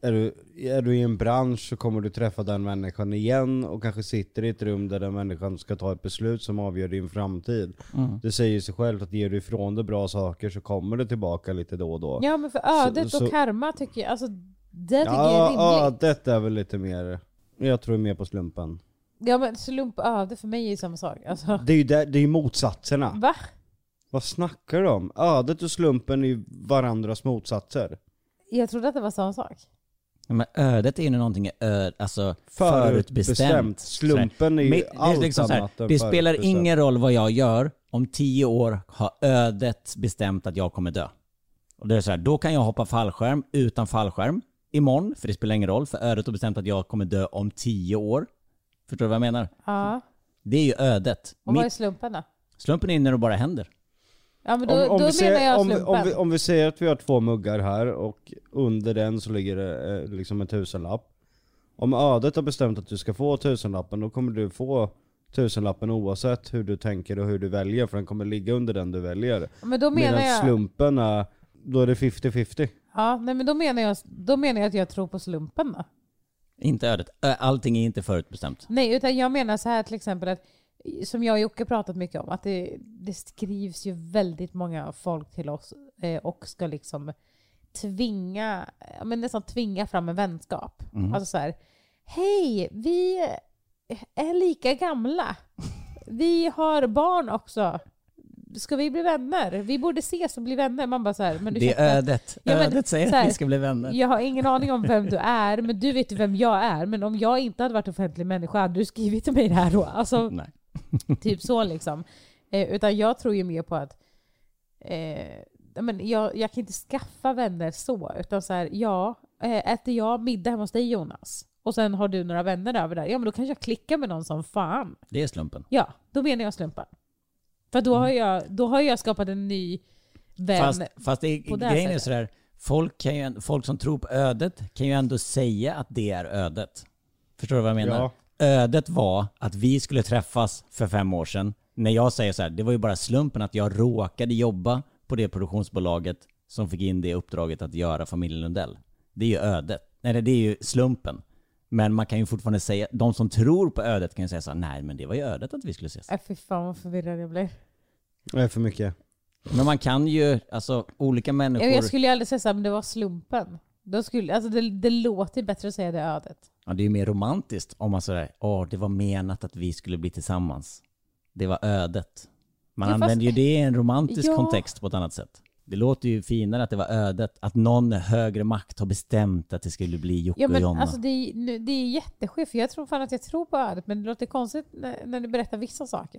Speaker 2: är du, är du i en bransch så kommer du träffa den människan igen och kanske sitter i ett rum där den människan ska ta ett beslut som avgör din framtid.
Speaker 3: Mm.
Speaker 2: Det säger sig självt att ger du ifrån dig bra saker så kommer det tillbaka lite då och då.
Speaker 4: Ja men för ödet
Speaker 2: så-
Speaker 4: och karma tycker jag, alltså det tycker jag är
Speaker 2: ja,
Speaker 4: rimligt.
Speaker 2: det är väl lite mer, jag tror mer på slumpen.
Speaker 4: Ja men slump och öde för mig är ju samma sak. Alltså,
Speaker 2: Det är ju där, det är ju motsatserna.
Speaker 4: va?
Speaker 2: Vad snackar du om? Ödet och slumpen är varandras motsatser.
Speaker 4: Jag trodde att det var samma sak.
Speaker 3: Ja, Men ödet är ju när någonting är ö, alltså
Speaker 2: Förutbestämt.
Speaker 3: förutbestämt.
Speaker 2: Slumpen är ju
Speaker 3: Men
Speaker 2: allt
Speaker 3: liksom så här,
Speaker 2: annat än
Speaker 3: Det spelar
Speaker 2: förutbestämt.
Speaker 3: ingen roll vad jag gör, om tio år har ödet bestämt att jag kommer dö. Och det är så här, då kan jag hoppa fallskärm utan fallskärm imorgon, för det spelar ingen roll, för ödet har bestämt att jag kommer dö om tio år. Förstår du vad jag menar?
Speaker 4: Ja.
Speaker 3: Det är ju ödet.
Speaker 4: Och vad är
Speaker 3: Mitt,
Speaker 4: slumpen då?
Speaker 3: slumpen är när det bara händer.
Speaker 4: Ja men då,
Speaker 2: Om, om,
Speaker 4: då
Speaker 2: vi
Speaker 4: menar
Speaker 2: ser,
Speaker 4: jag
Speaker 2: om, vi-
Speaker 4: slumpen.
Speaker 2: om, vi, om vi säger att vi har två muggar här och under den så ligger det eh, liksom en tusenlapp. Om ödet har bestämt att du ska få tusenlappen då kommer du få tusenlappen oavsett hur du tänker och hur du väljer för den kommer ligga under den du väljer.
Speaker 4: men då menar
Speaker 2: Medan
Speaker 4: jag...
Speaker 2: slumpen är, då är det 50-50.
Speaker 4: Ja, nej, men då menar, jag, då menar jag att jag tror på slumpen då.
Speaker 3: Inte ödet. Ö, Allting är inte förutbestämt.
Speaker 4: Nej, utan jag menar så här till exempel att som jag och Jocke pratat mycket om, att det, det skrivs ju väldigt många folk till oss eh, och ska liksom tvinga, ja, men nästan tvinga fram en vänskap.
Speaker 3: Mm.
Speaker 4: Alltså så här, hej, vi är lika gamla. Vi har barn också. Ska vi bli vänner? Vi borde ses och bli vänner. Man bara så här, men
Speaker 3: Det
Speaker 4: ursäkta.
Speaker 3: är ödet.
Speaker 4: Ja, men
Speaker 3: ödet säger
Speaker 4: så här,
Speaker 3: att vi ska bli vänner.
Speaker 4: Jag har ingen aning om vem du är, men du vet ju vem jag är. Men om jag inte hade varit offentlig människa, hade du skrivit till mig det här då? Alltså,
Speaker 3: Nej.
Speaker 4: typ så liksom. Eh, utan jag tror ju mer på att eh, ja, men jag, jag kan inte skaffa vänner så, utan så här, ja, eh, äter jag middag hemma hos dig Jonas, och sen har du några vänner över där, ja men då kanske jag klickar med någon som fan.
Speaker 3: Det är slumpen.
Speaker 4: Ja, då menar jag slumpen. För då har jag, då har jag skapat en ny vän.
Speaker 3: Fast, fast det,
Speaker 4: på det här
Speaker 3: grejen är
Speaker 4: sättet.
Speaker 3: sådär, folk, kan ju, en- folk som tror på ödet kan ju ändå säga att det är ödet. Förstår du vad jag menar?
Speaker 2: Ja.
Speaker 3: Ödet var att vi skulle träffas för fem år sedan. När jag säger så här, det var ju bara slumpen att jag råkade jobba på det produktionsbolaget som fick in det uppdraget att göra familjen Lundell. Det är ju ödet. Nej, det är ju slumpen. Men man kan ju fortfarande säga, de som tror på ödet kan ju säga så här, nej men det var ju ödet att vi skulle ses.
Speaker 4: Äh, fy fan vad förvirrad jag blir.
Speaker 2: Det är för mycket.
Speaker 3: Men man kan ju, alltså olika människor...
Speaker 4: Ja, Jag skulle ju aldrig säga såhär, men det var slumpen. Då skulle, alltså det, det låter ju bättre att säga det är ödet.
Speaker 3: Ja, det är ju mer romantiskt om man säger åh, det var menat att vi skulle bli tillsammans. Det var ödet. Man
Speaker 4: Ja, fast-
Speaker 3: använder ju det i en romantisk
Speaker 4: Ja.
Speaker 3: kontext på ett annat sätt. Det låter ju finare att det var ödet, att någon högre makt har bestämt att det skulle bli Jocke
Speaker 4: Ja,
Speaker 3: och
Speaker 4: men
Speaker 3: Jonna.
Speaker 4: alltså det, är- nu- det är jätteskevt, för jag tror fan att jag tror på ödet, men det låter konstigt när, när du berättar vissa saker.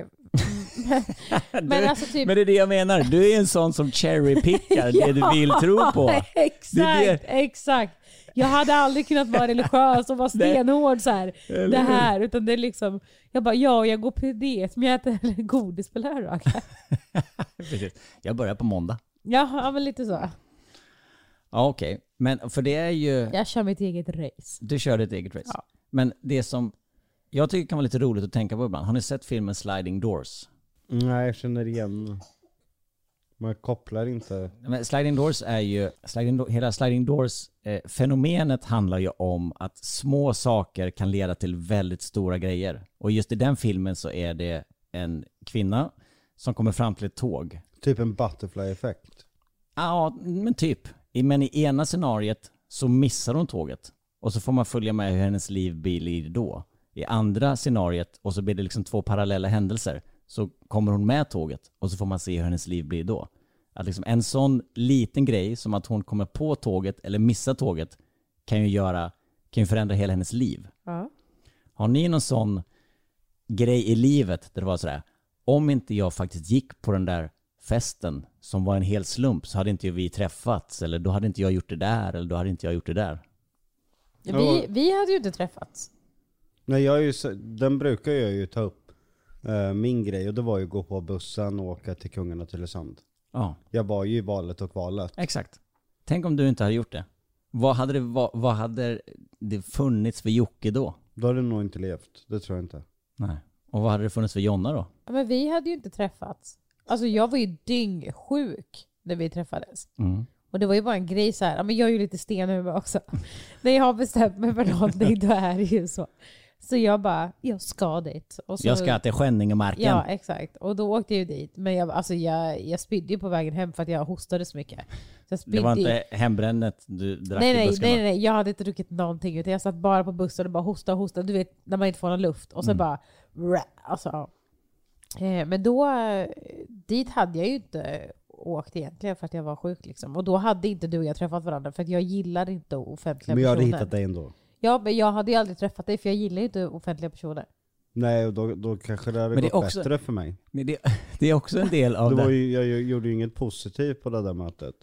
Speaker 4: Mm, Men, men alltså typ...
Speaker 3: Men det är det jag menar, du är en sån som cherrypickar det
Speaker 4: Ja,
Speaker 3: du vill tro på.
Speaker 4: Exakt, exakt. Jag hade aldrig kunnat vara religiös och vara stenhård så här. Det här, utan det är liksom, jag bara ja, jag går piet, men jag äter godis på lördagar.
Speaker 3: Precis. Jag börjar på måndag.
Speaker 4: Ja, ja, men lite så.
Speaker 3: Ja, okej. Men för det är ju...
Speaker 4: Jag kör mitt eget race.
Speaker 3: Du kör ditt eget race.
Speaker 4: Ja.
Speaker 3: Men det som jag tycker kan vara lite roligt att tänka på ibland, har ni sett filmen Sliding Doors?
Speaker 2: Nej, jag känner igen. Man kopplar inte.
Speaker 3: Men sliding doors är ju, sliding, Do- hela sliding doors-fenomenet handlar ju om att små saker kan leda till väldigt stora grejer. Och just i den filmen så är det en kvinna som kommer fram till ett tåg.
Speaker 2: Typ en butterfly effekt.
Speaker 3: Ja, men typ. I- Men i ena scenariet så missar hon tåget. Och så får man följa med hur hennes liv blir då. I andra scenariet, och så blir det liksom två parallella händelser, så kommer hon med tåget och så får man se hur hennes liv blir då. Att liksom en sån liten grej som att hon kommer på tåget eller missar tåget kan ju göra, kan ju förändra hela hennes liv.
Speaker 4: Ja.
Speaker 3: Har ni någon sån grej i livet där det var sådär, om inte jag faktiskt gick på den där festen som var en hel slump så hade inte vi träffats eller då hade inte jag gjort det där eller då hade inte jag gjort det där.
Speaker 4: Vi, vi hade ju inte träffats.
Speaker 2: Nej, jag är ju, så- den brukar jag ju ta upp. Eh, Min grej, och det var ju att gå på bussen och åka till Kungen och Tylösand.
Speaker 3: Ja,
Speaker 2: Jag var ju i valet och kvalet.
Speaker 3: exakt. Tänk om du inte hade gjort det. Vad hade det, vad, vad hade det funnits för Jocke då?
Speaker 2: Då hade du nog inte levt, det tror jag inte.
Speaker 3: Nej. Och vad hade det funnits för Jonna då?
Speaker 4: Ja, Men vi hade ju inte träffats. Alltså jag var ju dyngsjuk när vi träffades.
Speaker 3: Mm.
Speaker 4: Och det var ju bara en grej så här, ja, men jag är ju lite sten i huvudet också. när jag har bestämt mig för någonting då är det ju så. Så jag bara, jag ska dit. Och så,
Speaker 3: Jag ska till Skänningemarken.
Speaker 4: Ja, exakt. Och då åkte jag ju dit. Men jag, alltså jag, jag spydde ju på vägen hem för att jag hostade så mycket. Så jag spydde
Speaker 3: det var
Speaker 4: ju-
Speaker 3: inte hembrännet du drack
Speaker 4: nej,
Speaker 3: i
Speaker 4: nej,
Speaker 3: buskarna?
Speaker 4: nej, nej, jag hade inte druckit någonting. Utan jag satt bara
Speaker 2: Mm.
Speaker 4: på bussen och bara hostade och hostade. Du vet, när man inte får någon luft. Och så bara, rah, alltså, ja. Eh, Men då, eh, dit hade jag ju inte åkt egentligen för att jag var sjuk liksom. Och då hade inte du och jag träffat varandra för att jag gillar inte offentliga
Speaker 2: Men jag hade
Speaker 4: personer.
Speaker 2: hittat dig ändå.
Speaker 4: Ja, men jag hade ju aldrig träffat dig för jag gillar ju inte offentliga personer.
Speaker 2: Nej, och då, då kanske det hade
Speaker 3: Men det
Speaker 2: gått
Speaker 3: är också-
Speaker 2: bättre för mig.
Speaker 3: Men det, det är också en del av
Speaker 2: Det
Speaker 3: det.
Speaker 2: var ju, jag gjorde ju inget positivt på det där mötet.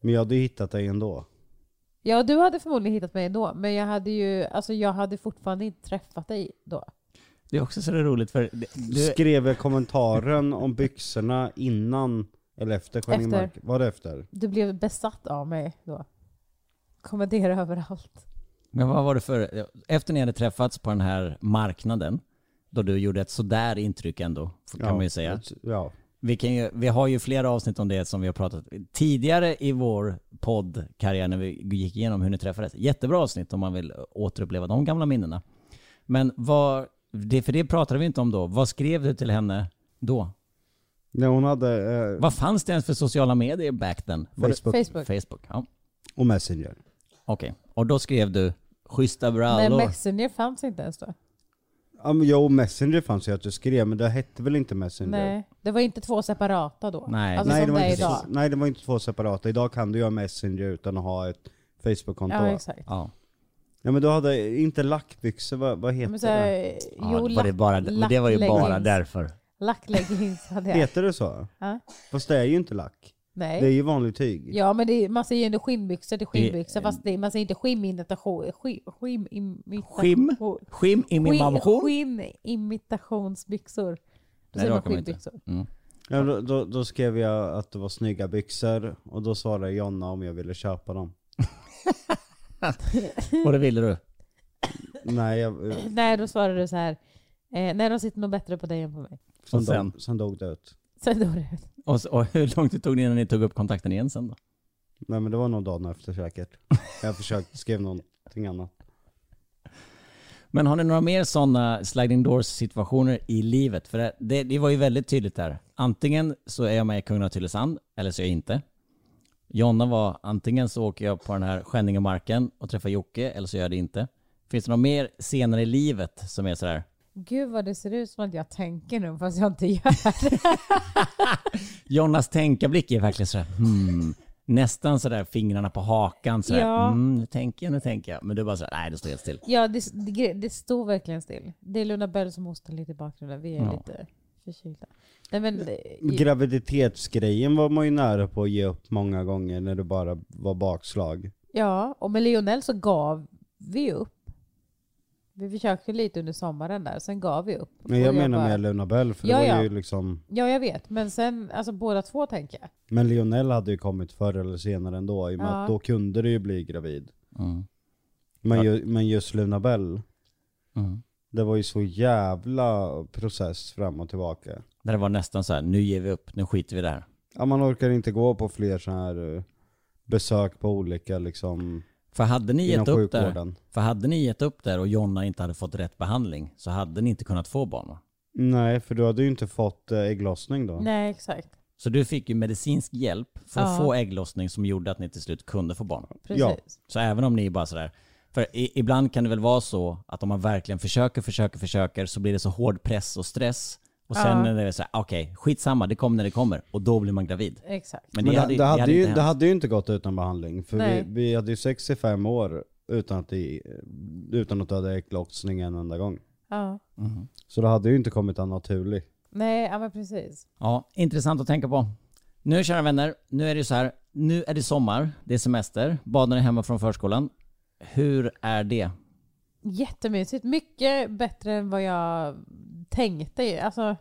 Speaker 2: Men jag hade ju hittat dig ändå.
Speaker 4: Ja, du hade förmodligen hittat mig ändå, men jag hade ju, alltså jag hade fortfarande inte träffat dig då.
Speaker 3: Det är också så det är roligt för... Det,
Speaker 2: Du
Speaker 3: du,
Speaker 2: skrev jag kommentaren om byxorna innan eller efter Skänning
Speaker 4: Efter.
Speaker 2: Mark? Var det efter?
Speaker 4: Du blev besatt av mig då. Kommentera överallt.
Speaker 3: men vad var det för... Efter ni hade träffats på den här marknaden, då du gjorde ett sådär intryck ändå, kan man ju säga.
Speaker 2: ett- Ja.
Speaker 3: Vi, kan ju, vi har ju flera avsnitt om det som vi har pratat tidigare i vår poddkarriär när vi gick igenom hur ni träffades. Jättebra avsnitt om man vill återuppleva de gamla minnena. Men vad, det, för det pratade vi inte om då. Vad skrev du till henne då?
Speaker 2: Nej, hon hade eh,
Speaker 3: Vad fanns det ens för sociala medier back then? Var det-
Speaker 2: Facebook
Speaker 4: Facebook.
Speaker 3: Facebook, ja.
Speaker 2: och Messenger.
Speaker 3: Okej. Och då skrev du schyssta
Speaker 4: Men
Speaker 3: brallor.
Speaker 4: Messenger fanns inte ens då.
Speaker 2: Ja, men jo, Messenger fanns ju att du skrev, men det hette väl inte Messenger?
Speaker 4: Nej, det var inte två separata då.
Speaker 3: Nej.
Speaker 4: alltså
Speaker 2: Nej, det
Speaker 4: som
Speaker 2: var
Speaker 4: det är
Speaker 2: inte,
Speaker 4: idag.
Speaker 2: två, nej, det var inte två separata. Idag kan du göra Messenger utan att ha ett Facebook-konto.
Speaker 4: Ja,
Speaker 2: Ja,
Speaker 4: exakt.
Speaker 3: Ja.
Speaker 2: men du hade inte lackbyxor, vad, vad heter
Speaker 4: Men så,
Speaker 2: det?
Speaker 4: här,
Speaker 3: ja,
Speaker 4: jo,
Speaker 3: det var det
Speaker 4: lack-
Speaker 3: bara, och det var ju bara
Speaker 4: lackleggings.
Speaker 3: därför.
Speaker 4: Lackleggings hade jag.
Speaker 2: Heter det så?
Speaker 4: Ja.
Speaker 2: Fast det är ju inte lack.
Speaker 4: Nej.
Speaker 2: Det är ju vanligt tyg.
Speaker 4: Ja men det, är- man säger ju ändå skinnbyxor till skinnbyxor
Speaker 3: I-
Speaker 4: fast det, man säger inte skimimitation. Skim, skim,
Speaker 3: Skim? Skim i min mamsion.
Speaker 4: Skinimitationsbyxor. Då
Speaker 3: Nej, det
Speaker 4: säger man
Speaker 3: orkar man inte.
Speaker 4: skimbyxor.
Speaker 3: Mm.
Speaker 2: Ja, då, då, då skrev jag att det var snygga byxor och då svarade Jonna om jag ville köpa dem.
Speaker 3: Mm. Och det ville du?
Speaker 2: Nej, jag,
Speaker 4: Nej då svarar du så här. Eh, nej de sitter nog bättre på dig än på mig.
Speaker 2: sen,
Speaker 3: Och sen?
Speaker 2: Dog, sen dog det ut.
Speaker 4: Sen dog det ut.
Speaker 3: Och, så, och hur långt tog det innan ni tog upp kontakten igen sen då?
Speaker 2: Nej men det var nog dagen efter säkert. Jag försökte skriva någonting annat.
Speaker 3: Men har ni några mer sådana sliding doors situationer i livet? För det, det, det var ju väldigt tydligt där. Antingen så är jag med i Kungen av Tylösand eller så är jag inte. Jonna var antingen så åker jag på den här Skänningemarken och träffar Jocke eller så gör jag det inte. Finns det några mer senare i livet som är sådär?
Speaker 4: Gud vad det ser ut som att jag tänker nu fast jag inte gör.
Speaker 3: Jonnas tänkarblick är verkligen sådär hmm. Nästan sådär fingrarna på hakan sådär.
Speaker 4: Ja.
Speaker 3: Mm, nu tänker jag, nu tänker jag. Men du bara sådär, nej det står helt still.
Speaker 4: Ja det, det, gre- det står verkligen still. Det är Luna Bell som hostar lite i bakgrunden. Vi är
Speaker 3: Ja.
Speaker 4: lite förkylda. Nej men eh,
Speaker 2: Graviditetsgrejen var man ju nära på att ge upp många gånger när det bara var bakslag.
Speaker 4: Ja, och med Lionel så gav vi upp. Vi försökte lite under sommaren där, sen gav vi upp.
Speaker 2: Men jag
Speaker 4: Och
Speaker 2: menar
Speaker 4: bara-
Speaker 2: med Luna Bell för
Speaker 4: Ja,
Speaker 2: det var
Speaker 4: ja.
Speaker 2: ju liksom
Speaker 4: Ja, jag vet. Men sen, alltså båda två tänker jag.
Speaker 2: Men Lionel hade ju kommit förr eller senare ändå i och med
Speaker 4: Ja.
Speaker 2: att då kunde det ju bli gravid.
Speaker 3: Mm.
Speaker 2: Men, ju, men just Luna Bell,
Speaker 3: Mm.
Speaker 2: det var ju så jävla process fram och tillbaka.
Speaker 3: Där det var nästan så här, nu ger vi upp, nu skiter vi i det här.
Speaker 2: Ja, man orkar inte gå på fler så här eh, besök på olika liksom
Speaker 3: För hade ni
Speaker 2: inom
Speaker 3: gett upp där,
Speaker 2: sjukvården.
Speaker 3: för hade ni gett upp där och Jonna inte hade fått rätt behandling så hade ni inte kunnat få barn va?
Speaker 2: Nej, för du hade ju inte fått eh, ägglossning då.
Speaker 4: Nej, exakt.
Speaker 3: Så du fick ju medicinsk hjälp för att
Speaker 4: Ja.
Speaker 3: få ägglossning som gjorde att ni till slut kunde få barn.
Speaker 4: Precis.
Speaker 3: Så även om ni bara sådär, för i, ibland kan det väl vara så att om man verkligen försöker, försöker, försöker så blir det så hård press och stress. Och sen
Speaker 4: Ja.
Speaker 3: när det är såhär, okej, skitsamma, det kommer när det kommer. Och då blir man gravid.
Speaker 4: Exakt.
Speaker 3: Men,
Speaker 2: Men
Speaker 3: det,
Speaker 2: det,
Speaker 3: hade,
Speaker 2: det, hade ju,
Speaker 3: inte
Speaker 2: det
Speaker 3: hänt.
Speaker 2: hade ju inte gått utan behandling, för vi,
Speaker 4: Nej.
Speaker 2: vi hade ju 65 år utan att, det, utan att du hade ägglossning en enda gång.
Speaker 4: Ja.
Speaker 2: Så det hade ju inte kommit an naturligt.
Speaker 4: Nej, ja men precis.
Speaker 3: Ja, intressant att tänka på. Nu kära vänner, nu är det så här, nu är det sommar, det är semester, barnen är hemma från förskolan. Hur är det?
Speaker 4: Jättemysigt. Mycket bättre än vad jag tänkte. Alltså,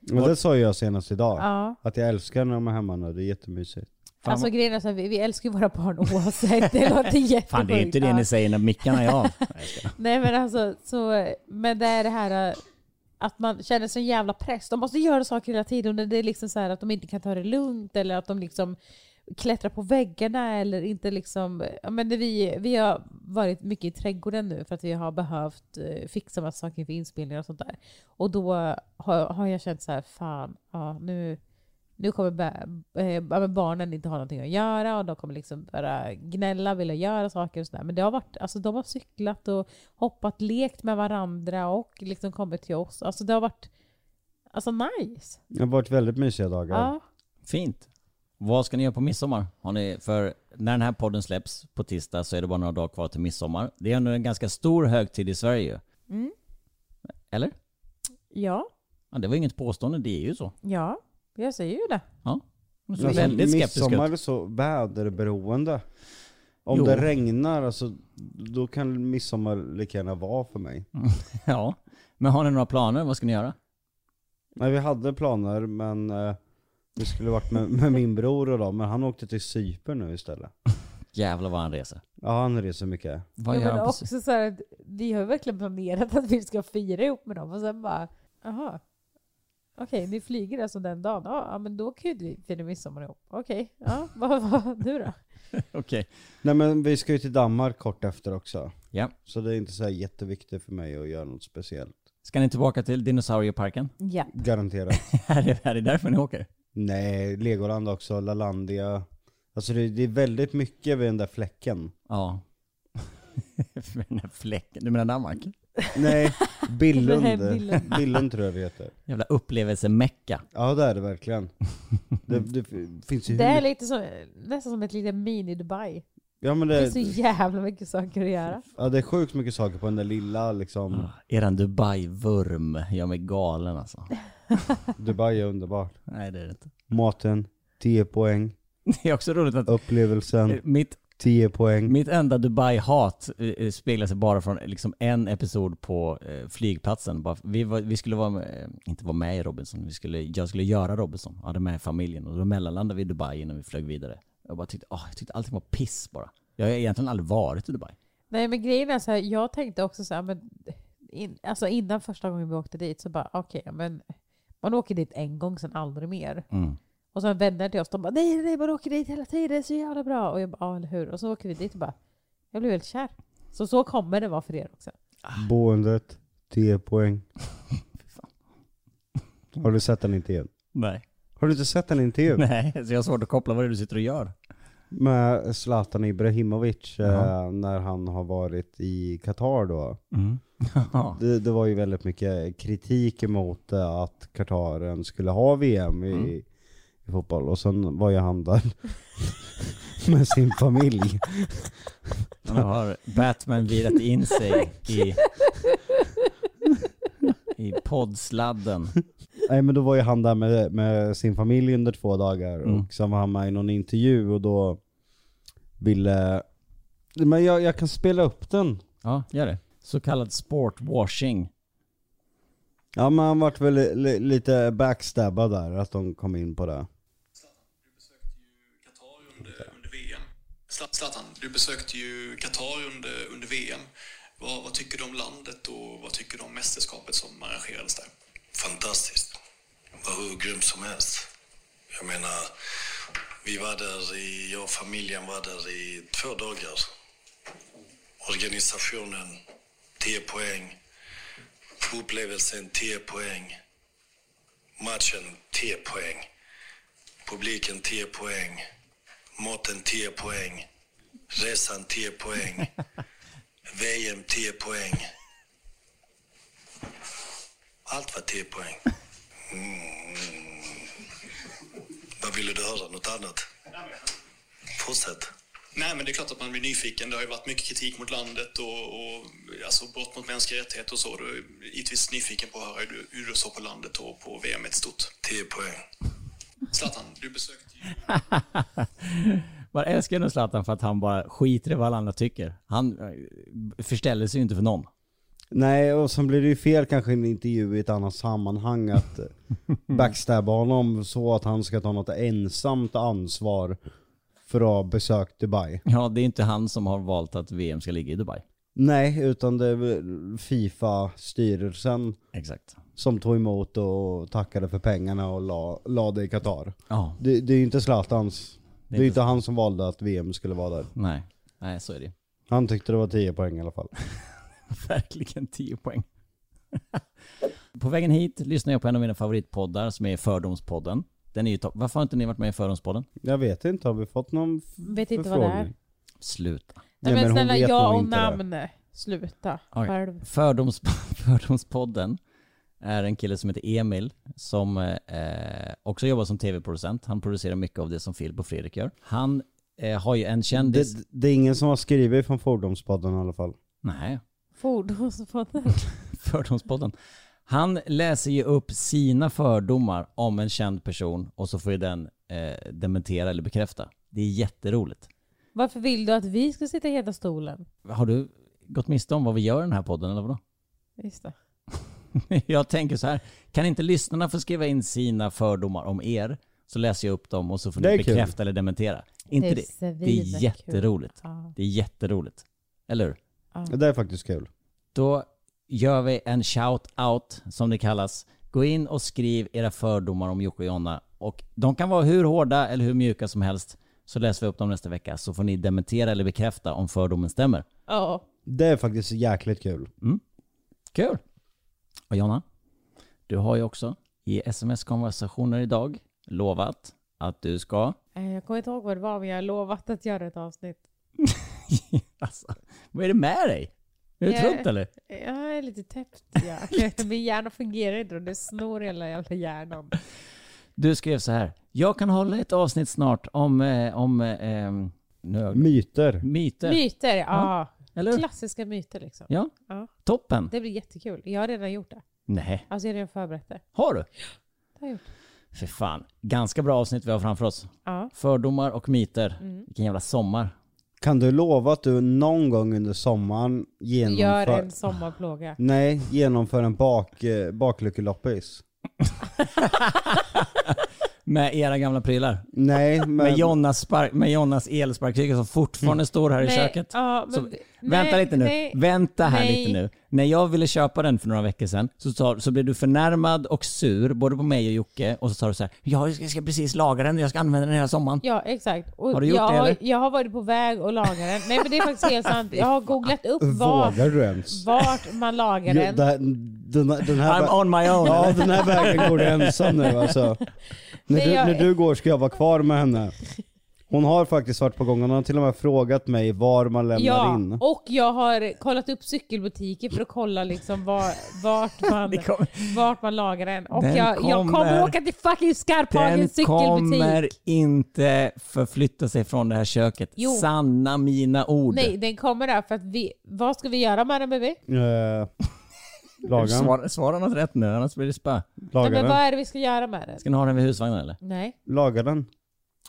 Speaker 2: Men det sa ju jag senast idag.
Speaker 4: ja.
Speaker 2: Att jag älskar när de är hemma nu, det är jättemysigt.
Speaker 3: Fan,
Speaker 4: alltså
Speaker 3: vad-
Speaker 4: grejen är så här, vi, vi älskar ju våra barn oavsett. Det låter jättesjukt.
Speaker 3: Fan det är ju inte det
Speaker 4: Ja.
Speaker 3: ni säger när mickarna är av.
Speaker 4: Nej men alltså, så, men det är det här eh, att man känner sån jävla press. De måste göra saker hela tiden. Och Det är liksom så här att de inte kan ta det lugnt eller att de liksom klättrar på väggarna eller inte liksom... ja, Men det- vi, vi har varit mycket i trädgården nu för att vi har behövt eh, fixa massa saker inför inspelningar och sånt där. Och då har, har jag känt så här, fan, ja, nu, nu kommer ba- eh, ja, men barnen inte ha någonting att göra och de kommer liksom bara gnälla, vilja göra saker och sådär. Men det har varit, alltså de har cyklat och hoppat, lekt med varandra och liksom kommit till oss. Alltså det har varit Alltså nice.
Speaker 2: Det har varit väldigt mysiga dagar.
Speaker 4: Ja.
Speaker 3: Fint. Vad ska ni göra på midsommar? Har ni, för när den här podden släpps på tisdag så är det bara några dagar kvar till midsommar. Det är ändå en ganska stor högtid i Sverige ju.
Speaker 4: Mm.
Speaker 3: Eller?
Speaker 4: Ja.
Speaker 3: Ja, det var inget påstående, det är ju så.
Speaker 4: Ja. Jag säger ju det.
Speaker 3: Du ser
Speaker 2: Alltså,
Speaker 3: väldigt skeptisk ut.
Speaker 2: midsommar är så väderberoende. Om
Speaker 3: Jo.
Speaker 2: det regnar, alltså, då kan midsommar lika gärna vara för mig.
Speaker 3: Ja. Men har ni några planer? Vad ska ni göra?
Speaker 2: Nej vi hade planer men eh, vi skulle varit med, med min bror och dem, men han åkte till Cypern nu istället.
Speaker 3: Jävlar vad han reser.
Speaker 2: Ja han reser mycket.
Speaker 3: Vad
Speaker 4: Jo,
Speaker 3: gör
Speaker 4: men
Speaker 3: han på
Speaker 4: också så här, att vi har ju verkligen planerat att vi ska fira ihop med dem och sen bara, aha. Okej, ni flyger alltså den dagen? Ja, ja, men då kan ju vi fira midsommar ihop. Okej, ja, vad, vad nu då?
Speaker 3: Okej.
Speaker 2: Nej men vi ska ju till Danmark kort efter också.
Speaker 3: Ja.
Speaker 2: Så det är inte så här jätteviktigt för mig att göra något speciellt.
Speaker 3: Ska ni tillbaka till dinosaurieparken?
Speaker 4: Ja.
Speaker 2: Garanterat.
Speaker 3: är, det, är det därför ni åker?
Speaker 2: Nej, Legoland också, Lalandia. Alltså det, det är väldigt mycket vid den där fläcken.
Speaker 3: Ja. För den här fläcken. Du menar Danmark?
Speaker 2: Nej,
Speaker 4: Nej,
Speaker 2: Billund.
Speaker 4: Billund.
Speaker 2: Billund tror jag det heter.
Speaker 3: Jävla upplevelsemecka.
Speaker 2: Ja det är det verkligen. Det, det f- finns ju
Speaker 4: Det är
Speaker 2: hur-
Speaker 4: lite som, nästan som ett litet mini-Dubai.
Speaker 2: ja, men
Speaker 4: Det
Speaker 2: det,
Speaker 4: är så jävla mycket saker att göra.
Speaker 2: ja, det är sjukt mycket saker på den där lilla liksom.
Speaker 3: Eran Dubai-vurm gör mig galen alltså.
Speaker 2: Dubai är underbart.
Speaker 3: Nej det är det inte.
Speaker 2: Maten, 10 poäng.
Speaker 3: Det är också roligt att eh,
Speaker 2: Upplevelsen,
Speaker 3: mitt,
Speaker 2: 10 poäng.
Speaker 3: mitt enda Dubai-hat eh, eh, speglar sig bara från eh, liksom en episod på eh, flygplatsen. Bara, vi, var, vi skulle vara med, eh, inte vara med i Robinson, vi skulle, jag skulle göra Robinson. Jag hade med familjen och då mellanlandade vi i Dubai innan vi flög vidare. Jag bara tyckte, ah, jag tyckte allting var piss bara. Jag har egentligen aldrig varit i Dubai.
Speaker 4: Nej men grejen är så här, jag tänkte också så här, men in, alltså innan första gången vi åkte dit så bara okej, men man åker dit en gång sen aldrig mer.
Speaker 3: Mm.
Speaker 4: Och sen vänner till oss, de bara nej nej man åker dit hela tiden, det är så jävla bra. Och jag bara ja eller hur. Och så åker vi dit och bara jag blev helt kär. Så så kommer det vara för er också.
Speaker 2: Boendet, 10 poäng. Har du sett den intervjun?
Speaker 3: Nej.
Speaker 2: Har du inte sett den intervjun?
Speaker 3: Nej, så jag har svårt att koppla vad det är du sitter och gör.
Speaker 2: Med Zlatan Ibrahimovic
Speaker 3: Jaha.
Speaker 2: eh, när han har varit i Qatar då.
Speaker 3: Mm. Ja.
Speaker 2: Det, det var ju väldigt mycket kritik emot eh, att Qataren skulle ha VM i, i fotboll. Och sen var ju han där med sin familj.
Speaker 3: Han har Batman virat in sig i, i poddsladden.
Speaker 2: Nej men då var ju han där med, med sin familj under två dagar
Speaker 3: Mm.
Speaker 2: och sen var han med i någon intervju och då ville... Men jag, jag kan spela upp den.
Speaker 3: Ja, gör det. Så kallad sportwashing.
Speaker 2: Ja men han vart väl li, li, lite backstabbad där, att de kom in på det.
Speaker 6: Qatar under, under VM. Zla- Zlatan, du besökte ju Qatar under, under VM. Vad, vad tycker du om landet och vad tycker du om mästerskapet som arrangerades där?
Speaker 7: fantastiskt. Det var hur grymt som helst. Jag menar, vi var där i, jag och familjen var där i två dagar. Organisationen, 10 poäng. Upplevelsen, 10 poäng. Matchen, 10 poäng. Publiken, 10 poäng. Maten, 10 poäng. Resan, 10 poäng. VM, 10 poäng. Allt var 10 poäng. Mm. Vad ville du höra? Något annat? Fortsätt.
Speaker 6: Nej, men det är klart att man blir nyfiken. Det har ju varit mycket kritik mot landet och, och alltså brott mot mänskliga rättigheter och så. Du är givetvis nyfiken på att höra hur du, hur du såg på landet och på VM i stort.
Speaker 7: 10 poäng.
Speaker 6: Zlatan, du besökte ju...
Speaker 3: Man älskar ändå Zlatan för att han bara skiter i vad alla andra tycker. Han eh, förställer sig ju inte för någon.
Speaker 2: Nej och sen blir det ju fel kanske i en intervju i ett annat sammanhang att eh, backstabba honom så att han ska ta något ensamt ansvar för att ha besökt Dubai.
Speaker 3: Ja, det är inte han som har valt att VM ska ligga i Dubai.
Speaker 2: Nej, utan det är väl Fifa-styrelsen
Speaker 3: Exakt.
Speaker 2: som tog emot och tackade för pengarna och la, la det i Qatar.
Speaker 3: Ja,
Speaker 2: Det, det är ju inte Zlatans. Det är ju inte
Speaker 3: inte-
Speaker 2: han som valde att VM skulle vara där.
Speaker 3: nej. Nej, så är det ju.
Speaker 2: Han tyckte det var 10 poäng i alla fall.
Speaker 3: Verkligen 10 poäng. På vägen hit lyssnar jag på en av mina favoritpoddar som är Fördomspodden. Den är ju topp. Varför har inte ni varit med i Fördomspodden?
Speaker 2: Jag vet inte, har vi fått någon f-
Speaker 4: Vet inte vad det är.
Speaker 2: förfrågning?
Speaker 4: Nej
Speaker 3: Sluta.
Speaker 2: Ja,
Speaker 4: men,
Speaker 2: men hon
Speaker 4: snälla
Speaker 2: vet nog
Speaker 4: ja och
Speaker 2: inte det.
Speaker 4: namn. Sluta.
Speaker 3: Oj.
Speaker 4: Själv.
Speaker 3: Fördoms, fördomspodden är en kille som heter Emil som eh, också jobbar som tv-producent. Han producerar mycket av det som Filip och Fredrik gör. Han eh, har ju en
Speaker 2: Det,
Speaker 3: kändis...
Speaker 2: det är ingen som har skrivit från Fordonspodden i alla fall.
Speaker 3: Nej,
Speaker 4: Fordonspodden.
Speaker 3: Fördomspodden. Han läser ju upp sina fördomar om en känd person och så får ju den eh, dementera eller bekräfta. Det är jätteroligt.
Speaker 4: Varför vill du att vi ska sitta i heta stolen?
Speaker 3: Har du gått miste om vad vi gör i den här podden eller vadå?
Speaker 4: Just det.
Speaker 3: Jag tänker så här, kan inte lyssnarna få skriva in sina fördomar om er? Så läser jag upp dem och så får
Speaker 2: Det
Speaker 3: ni
Speaker 2: är kul.
Speaker 3: bekräfta eller dementera. Inte det, det är
Speaker 4: svinkul.
Speaker 3: jätteroligt.
Speaker 4: Ja.
Speaker 3: Det är jätteroligt. Eller hur?
Speaker 2: Det är faktiskt kul.
Speaker 3: Då gör vi en shout-out som det kallas. Gå in och skriv era fördomar om Jocke och Jonna. Och de kan vara hur hårda eller hur mjuka som helst. Så läser vi upp dem nästa vecka så får ni dementera eller bekräfta om fördomen stämmer.
Speaker 4: Ja.
Speaker 2: Det är faktiskt jäkligt kul.
Speaker 3: Kul! Och Jonna, du har ju också i sms-konversationer idag lovat att du ska...
Speaker 4: Eh, Jag kommer inte ihåg vad det var, men jag har lovat att göra ett avsnitt.
Speaker 3: alltså, vad är det med dig? Är du
Speaker 4: Jag-
Speaker 3: trött eller?
Speaker 4: Jag är lite täppt. Ja. Min hjärna fungerar inte och det snor hela jävla hjärnan.
Speaker 3: Du skrev så här. Jag kan hålla ett avsnitt snart om... Eh, om eh, ehm, nu,
Speaker 2: Myter.
Speaker 3: myter.
Speaker 4: Myter, ja.
Speaker 3: eller hur?
Speaker 4: Klassiska myter liksom.
Speaker 3: Ja.
Speaker 4: Ja.
Speaker 3: Toppen!
Speaker 4: Det blir jättekul. Jag har redan gjort det.
Speaker 3: Nej,
Speaker 4: Alltså jag har redan förberett det.
Speaker 3: har du?
Speaker 4: det har jag gjort.
Speaker 3: För fan, ganska bra avsnitt vi har framför oss.
Speaker 4: Ja.
Speaker 3: Fördomar och myter. Vilken jävla sommar.
Speaker 2: Kan du lova att du någon gång under sommaren
Speaker 4: Gör
Speaker 2: genomför...
Speaker 4: en sommarplåga.
Speaker 2: Nej, genomför en bak, eh, bakluckeloppis.
Speaker 3: Med era gamla prylar.
Speaker 2: Nej,
Speaker 3: Med
Speaker 2: men...
Speaker 3: Jonas, spark, med Jonas elsparkcykel som fortfarande står här i köket.
Speaker 4: Ja, men,
Speaker 3: Så,
Speaker 4: nej,
Speaker 3: vänta lite nu,
Speaker 4: nej.
Speaker 3: vänta här
Speaker 4: Nej.
Speaker 3: lite nu. När jag ville köpa den för några veckor sedan så, sa- så blev du förnärmad och sur både på mig och Jocke och så sa du så här, "Ja, jag ska, jag ska precis laga den, jag ska använda den hela sommaren.
Speaker 4: Ja, exakt. Och
Speaker 3: Har du gjort
Speaker 4: jag,
Speaker 3: det,
Speaker 4: har,
Speaker 3: eller?
Speaker 4: jag har varit på väg att laga den. Nej, men det är faktiskt helt sant. Jag har googlat upp var,
Speaker 2: Vågar du ens?
Speaker 4: vart man lagar
Speaker 2: Jo,
Speaker 4: den.
Speaker 2: där- Den, här- den här...
Speaker 3: I'm on my own.
Speaker 2: Ja, den här vägen går du ensam nu alltså. När
Speaker 4: Nej,
Speaker 2: du,
Speaker 4: jag-
Speaker 2: när du går ska jag vara kvar med henne. Hon har faktiskt varit på gång, hon har till och med frågat mig var man lämnar
Speaker 4: Ja,
Speaker 2: in.
Speaker 4: och jag har kollat upp cykelbutiker för att kolla liksom var, vart, man,
Speaker 3: Det kommer-
Speaker 4: vart man lagar den. Och
Speaker 3: Den
Speaker 4: jag, jag kommer
Speaker 3: kommer-
Speaker 4: åka till fucking
Speaker 3: Den
Speaker 4: Skarphagens cykelbutik.
Speaker 3: kommer inte förflytta sig från det här köket.
Speaker 4: Jo.
Speaker 3: Sanna mina ord.
Speaker 4: Nej, den kommer där för att vi... Vad ska vi göra med den baby?
Speaker 2: Eh, laga
Speaker 3: Svara, svara något rätt nu, annars blir det spö.
Speaker 4: Nej, men vad
Speaker 2: den.
Speaker 4: är det vi ska göra med den?
Speaker 3: Ska ni ha den vid husvagnen eller?
Speaker 4: Nej.
Speaker 2: Laga den.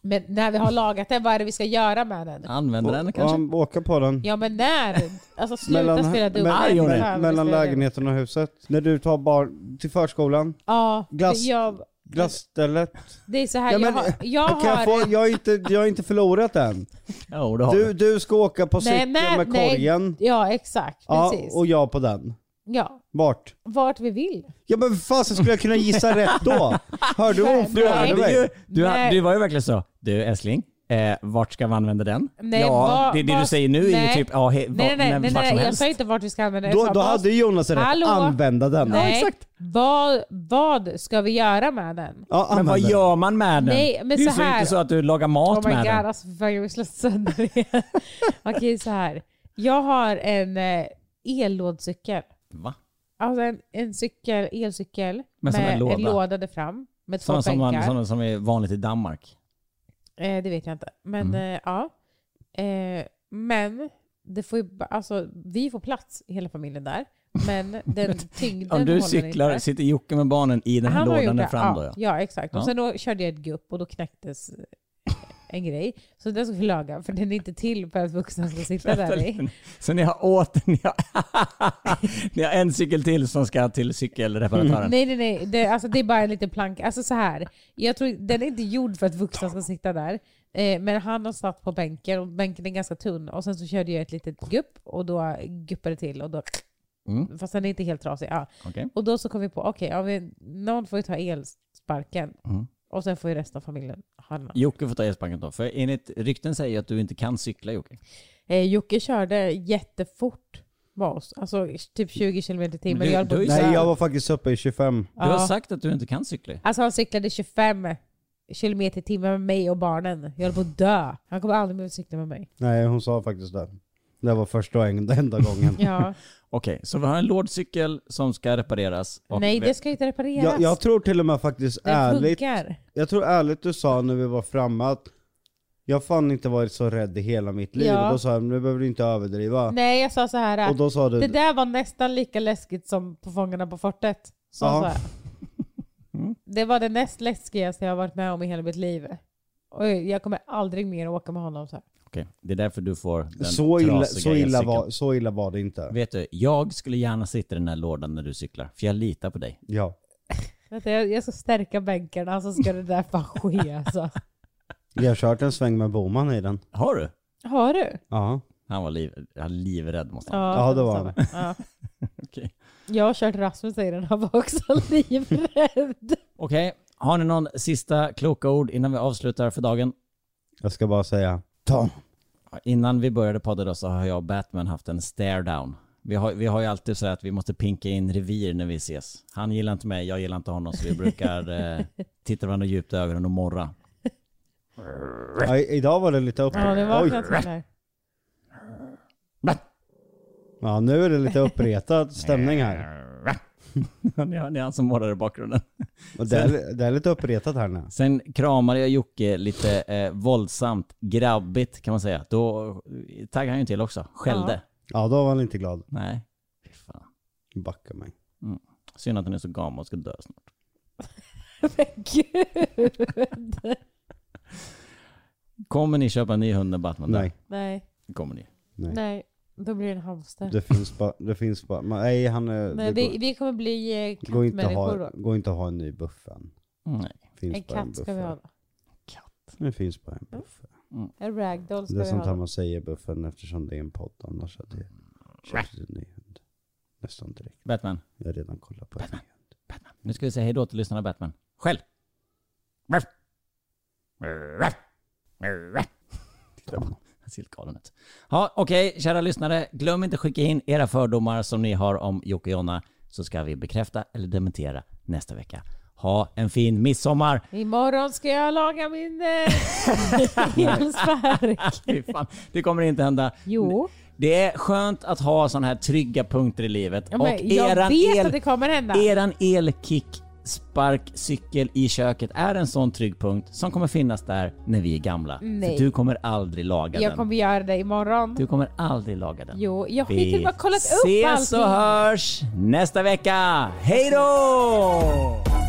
Speaker 4: Men när vi har lagat den, vad är det vi ska göra med den?
Speaker 3: Använda den kanske?
Speaker 2: Ja, åka på den.
Speaker 4: Ja men när? Alltså sluta
Speaker 2: Mellan-
Speaker 4: spela dubbel.
Speaker 2: mellan-
Speaker 3: Arg hon är.
Speaker 4: Fan,
Speaker 2: Mellan
Speaker 4: spela dubbel.
Speaker 2: lägenheten och huset. När du tar barn till förskolan,
Speaker 4: Ja,
Speaker 2: Glass.
Speaker 4: för Jag,
Speaker 2: glasstället.
Speaker 4: det är så här,
Speaker 2: Ja, men-
Speaker 4: jag har... Jag
Speaker 2: Kan jag,
Speaker 4: har
Speaker 2: få, jag, har inte, jag har inte förlorat än.
Speaker 3: Jo, det har
Speaker 2: Du,
Speaker 3: du...
Speaker 2: du ska åka på cykeln
Speaker 4: nej,
Speaker 2: med
Speaker 4: nej.
Speaker 2: korgen.
Speaker 4: Ja exakt,
Speaker 2: Ja,
Speaker 4: precis.
Speaker 2: och jag på den.
Speaker 4: Ja,
Speaker 2: Vart?
Speaker 4: vart vi vill.
Speaker 2: Ja men fasen skulle jag kunna gissa rätt då? Hörde du hon
Speaker 4: Nej.
Speaker 2: frågade
Speaker 3: Du,
Speaker 2: mig?
Speaker 3: du, du,
Speaker 4: Nej.
Speaker 3: du var ju verkligen så. Du älskling, eh, vart ska vi använda den?
Speaker 4: Nej,
Speaker 3: ja,
Speaker 4: vad-
Speaker 3: det, det du
Speaker 4: vad-
Speaker 3: säger nu är ju
Speaker 4: nej.
Speaker 3: typ ja, he, va,
Speaker 4: Nej nej nej,
Speaker 3: men
Speaker 4: nej,
Speaker 3: vart
Speaker 4: nej,
Speaker 3: som
Speaker 4: jag
Speaker 3: helst.
Speaker 4: sa inte vart vi ska använda den. Jag
Speaker 2: Då,
Speaker 4: sa
Speaker 2: då
Speaker 4: vad-
Speaker 2: hade ju Jonas rätt,
Speaker 4: Hallå?
Speaker 2: använda den.
Speaker 4: Nej, Vad, vad ska vi göra med
Speaker 2: Ja,
Speaker 4: den?
Speaker 3: Men vad
Speaker 2: använda den.
Speaker 3: gör man med den?
Speaker 4: Nej, men
Speaker 3: det är ju
Speaker 4: så här-
Speaker 3: inte så att du lagar mat
Speaker 4: Oh my
Speaker 3: med
Speaker 4: god,
Speaker 3: den.
Speaker 4: alltså för fan jag vill slå sönder det. Okej så här. Jag har en eh, ellådcykel.
Speaker 3: Va?
Speaker 4: Alltså en, en cykel, elcykel
Speaker 3: Men som en
Speaker 4: med
Speaker 3: låda.
Speaker 4: en låda där fram. Med två
Speaker 3: Sådana som, man-
Speaker 4: bänkar.
Speaker 3: sådana som är vanligt i Danmark.
Speaker 4: Eh, det vet jag inte. Men
Speaker 3: Mm.
Speaker 4: eh, ja. Eh, men det får ju, ba- alltså, vi får plats i hela familjen där. Men den
Speaker 3: Om
Speaker 4: tyngden håller
Speaker 3: du
Speaker 4: den
Speaker 3: cyklar,
Speaker 4: inte.
Speaker 3: sitter Jocke med barnen i den här
Speaker 4: har
Speaker 3: lådan
Speaker 4: gjort
Speaker 3: där
Speaker 4: det,
Speaker 3: fram
Speaker 4: ja,
Speaker 3: då? Ja.
Speaker 4: Ja, exakt.
Speaker 3: Ja.
Speaker 4: Och sen då körde jag ett gupp och då knäcktes en grej. Så den skulle jag laga, för den är inte till för att vuxna ska sitta där i.
Speaker 3: Så ni har åter, ni har, ni har en cykel till som ska till cykelreparatören.
Speaker 4: Nej, nej, nej. Det, alltså, det är bara en liten planka. Alltså så här. Jag tror, den är inte gjord för att vuxna ska sitta där. Eh, men han har satt på bänken och bänken är ganska tunn. Och sen så körde jag ett litet gupp och då guppade det till. Och då,
Speaker 3: Mm.
Speaker 4: Fast den är inte helt trasig. Ja.
Speaker 3: Okej.
Speaker 4: Och då så kom vi på, okej, ja, men någon får ju ta elsparken.
Speaker 3: Mm.
Speaker 4: Och sen får ju resten av familjen ha den.
Speaker 3: Jocke får ta elsparken då, för enligt rykten säger ju att du inte kan cykla Jocke.
Speaker 4: Eh, Jocke körde jättefort med oss. Alltså typ 20 km i
Speaker 3: Men
Speaker 4: timmen.
Speaker 3: du-
Speaker 4: Jag höll på-
Speaker 3: du är ju
Speaker 2: Nej
Speaker 3: Så här.
Speaker 2: jag var faktiskt uppe i 25.
Speaker 3: Du har
Speaker 4: Ja.
Speaker 3: sagt att du inte kan cykla.
Speaker 4: Alltså han cyklade 25 kilometer i timmen med mig och barnen. Jag höll på att dö. Han kommer aldrig mer att cykla med mig.
Speaker 2: Nej hon sa faktiskt det. Det var första och en- enda gången.
Speaker 4: Ja.
Speaker 3: Okej, så vi har en lådcykel som ska repareras. och
Speaker 4: Nej,
Speaker 3: vi-
Speaker 4: det ska ju inte repareras.
Speaker 2: Jag, jag tror till och med faktiskt
Speaker 4: Den
Speaker 2: ärligt,
Speaker 4: funkar.
Speaker 2: jag tror ärligt du sa när vi var framme att jag fan inte varit så rädd i hela mitt liv.
Speaker 4: Ja.
Speaker 2: Och då sa jag, nu behöver du inte överdriva.
Speaker 4: Nej, jag sa så här.
Speaker 2: Och då sa du,
Speaker 4: Det där var nästan lika läskigt som på Fångarna på fortet. Så
Speaker 2: Ja.
Speaker 4: sa jag.
Speaker 3: Mm.
Speaker 4: Det var det näst läskigaste jag har varit med om i hela mitt liv. Och jag kommer aldrig mer åka med honom så här.
Speaker 3: Okej, det är därför du får den
Speaker 2: så illa,
Speaker 3: trasiga
Speaker 2: så, illa
Speaker 3: elcykeln.
Speaker 2: var, så illa var det inte.
Speaker 3: Vet du, jag skulle gärna sitta i den här lådan när du cyklar, för jag litar på dig.
Speaker 2: Ja.
Speaker 4: Vänta, jag- Jag ska stärka bänkarna så ska det där fan ske alltså.
Speaker 2: Jag har kört en sväng med Boman i den.
Speaker 3: Har du?
Speaker 4: Har du?
Speaker 2: Ja.
Speaker 3: Han var liv, han livrädd måste han
Speaker 2: Ja, det var
Speaker 4: samma.
Speaker 2: det.
Speaker 4: Ja.
Speaker 3: Okej.
Speaker 4: Jag har kört Rasmus i den, han var också livrädd.
Speaker 3: Okej, har ni någon sista kloka ord innan vi avslutar för dagen?
Speaker 2: Jag ska bara säga, Tom.
Speaker 3: Innan vi började podda då så har jag och Batman haft en stare down. Vi har, vi har ju alltid så här att vi måste pinka in revir när vi ses. Han gillar inte mig, jag gillar inte honom så vi brukar eh, titta varandra djupt i ögonen och morra.
Speaker 2: Ja, i- idag var det lite
Speaker 4: Ja, det
Speaker 2: uppretad.
Speaker 4: var
Speaker 2: Oj.
Speaker 4: knappt sån här.
Speaker 2: Ja, nu är det lite uppretad stämning här.
Speaker 3: det är han som alltså morrar i bakgrunden.
Speaker 2: Och det, är, det är lite uppretat här nu.
Speaker 3: Sen kramade jag Jocke lite eh, våldsamt, grabbigt kan man säga. Då eh, taggade han ju till också, skällde.
Speaker 2: Ja, då var han inte glad.
Speaker 3: Nej, fy fan.
Speaker 2: Backa mig.
Speaker 3: Synd att han är så gammal och ska dö snart.
Speaker 4: Men gud!
Speaker 3: Kommer ni köpa en ny hund när Batman dör?
Speaker 2: Nej.
Speaker 4: Nej,
Speaker 3: Kommer ni?
Speaker 4: nej. Då blir det en hamster.
Speaker 2: Det finns bara, det finns bara, men nej han är,
Speaker 4: Nej,
Speaker 2: det
Speaker 4: vi,
Speaker 2: går,
Speaker 4: vi kommer bli eh,
Speaker 2: det går, inte att
Speaker 4: kattmänniskor
Speaker 2: ha,
Speaker 4: då.
Speaker 2: går inte att ha en ny buff än.
Speaker 3: Nej.
Speaker 2: Finns
Speaker 4: En
Speaker 2: bara
Speaker 4: katt ska vi ha då.
Speaker 2: Det finns bara en buff.
Speaker 4: En ragdoll ska
Speaker 2: Det är
Speaker 4: vi ha
Speaker 2: sånt här
Speaker 4: då.
Speaker 2: man säger buffen eftersom det är en podd annars att det köps en ny hund. Nästan direkt.
Speaker 3: Batman.
Speaker 2: Jag har redan kollat på det.
Speaker 3: Batman. Nu ska vi säga hejdå till lyssnarna Batman. Skäll! Titta på- Han ser helt galen ut. Ja, okej, kära lyssnare. Glöm inte skicka in era fördomar som ni har om Jocke och Jonna så ska vi bekräfta eller dementera nästa vecka. Ha en fin midsommar!
Speaker 4: Imorgon ska jag laga min eh, elspark.
Speaker 3: Fy fan, det kommer inte hända.
Speaker 4: Jo,
Speaker 3: Det är skönt att ha sådana här trygga punkter i livet.
Speaker 4: ja, men jag vet att det kommer hända.
Speaker 3: Eran elkick sparkcykel i köket är en sån trygg punkt som kommer finnas där när vi är gamla.
Speaker 4: Nej.
Speaker 3: För du kommer aldrig laga
Speaker 4: Jag
Speaker 3: den.
Speaker 4: kommer göra det imorgon.
Speaker 3: Du kommer aldrig laga den.
Speaker 4: Jo, jag har ju till och
Speaker 3: Vi
Speaker 4: med kollat upp
Speaker 3: ses och
Speaker 4: allting.
Speaker 3: hörs nästa vecka. Hej då!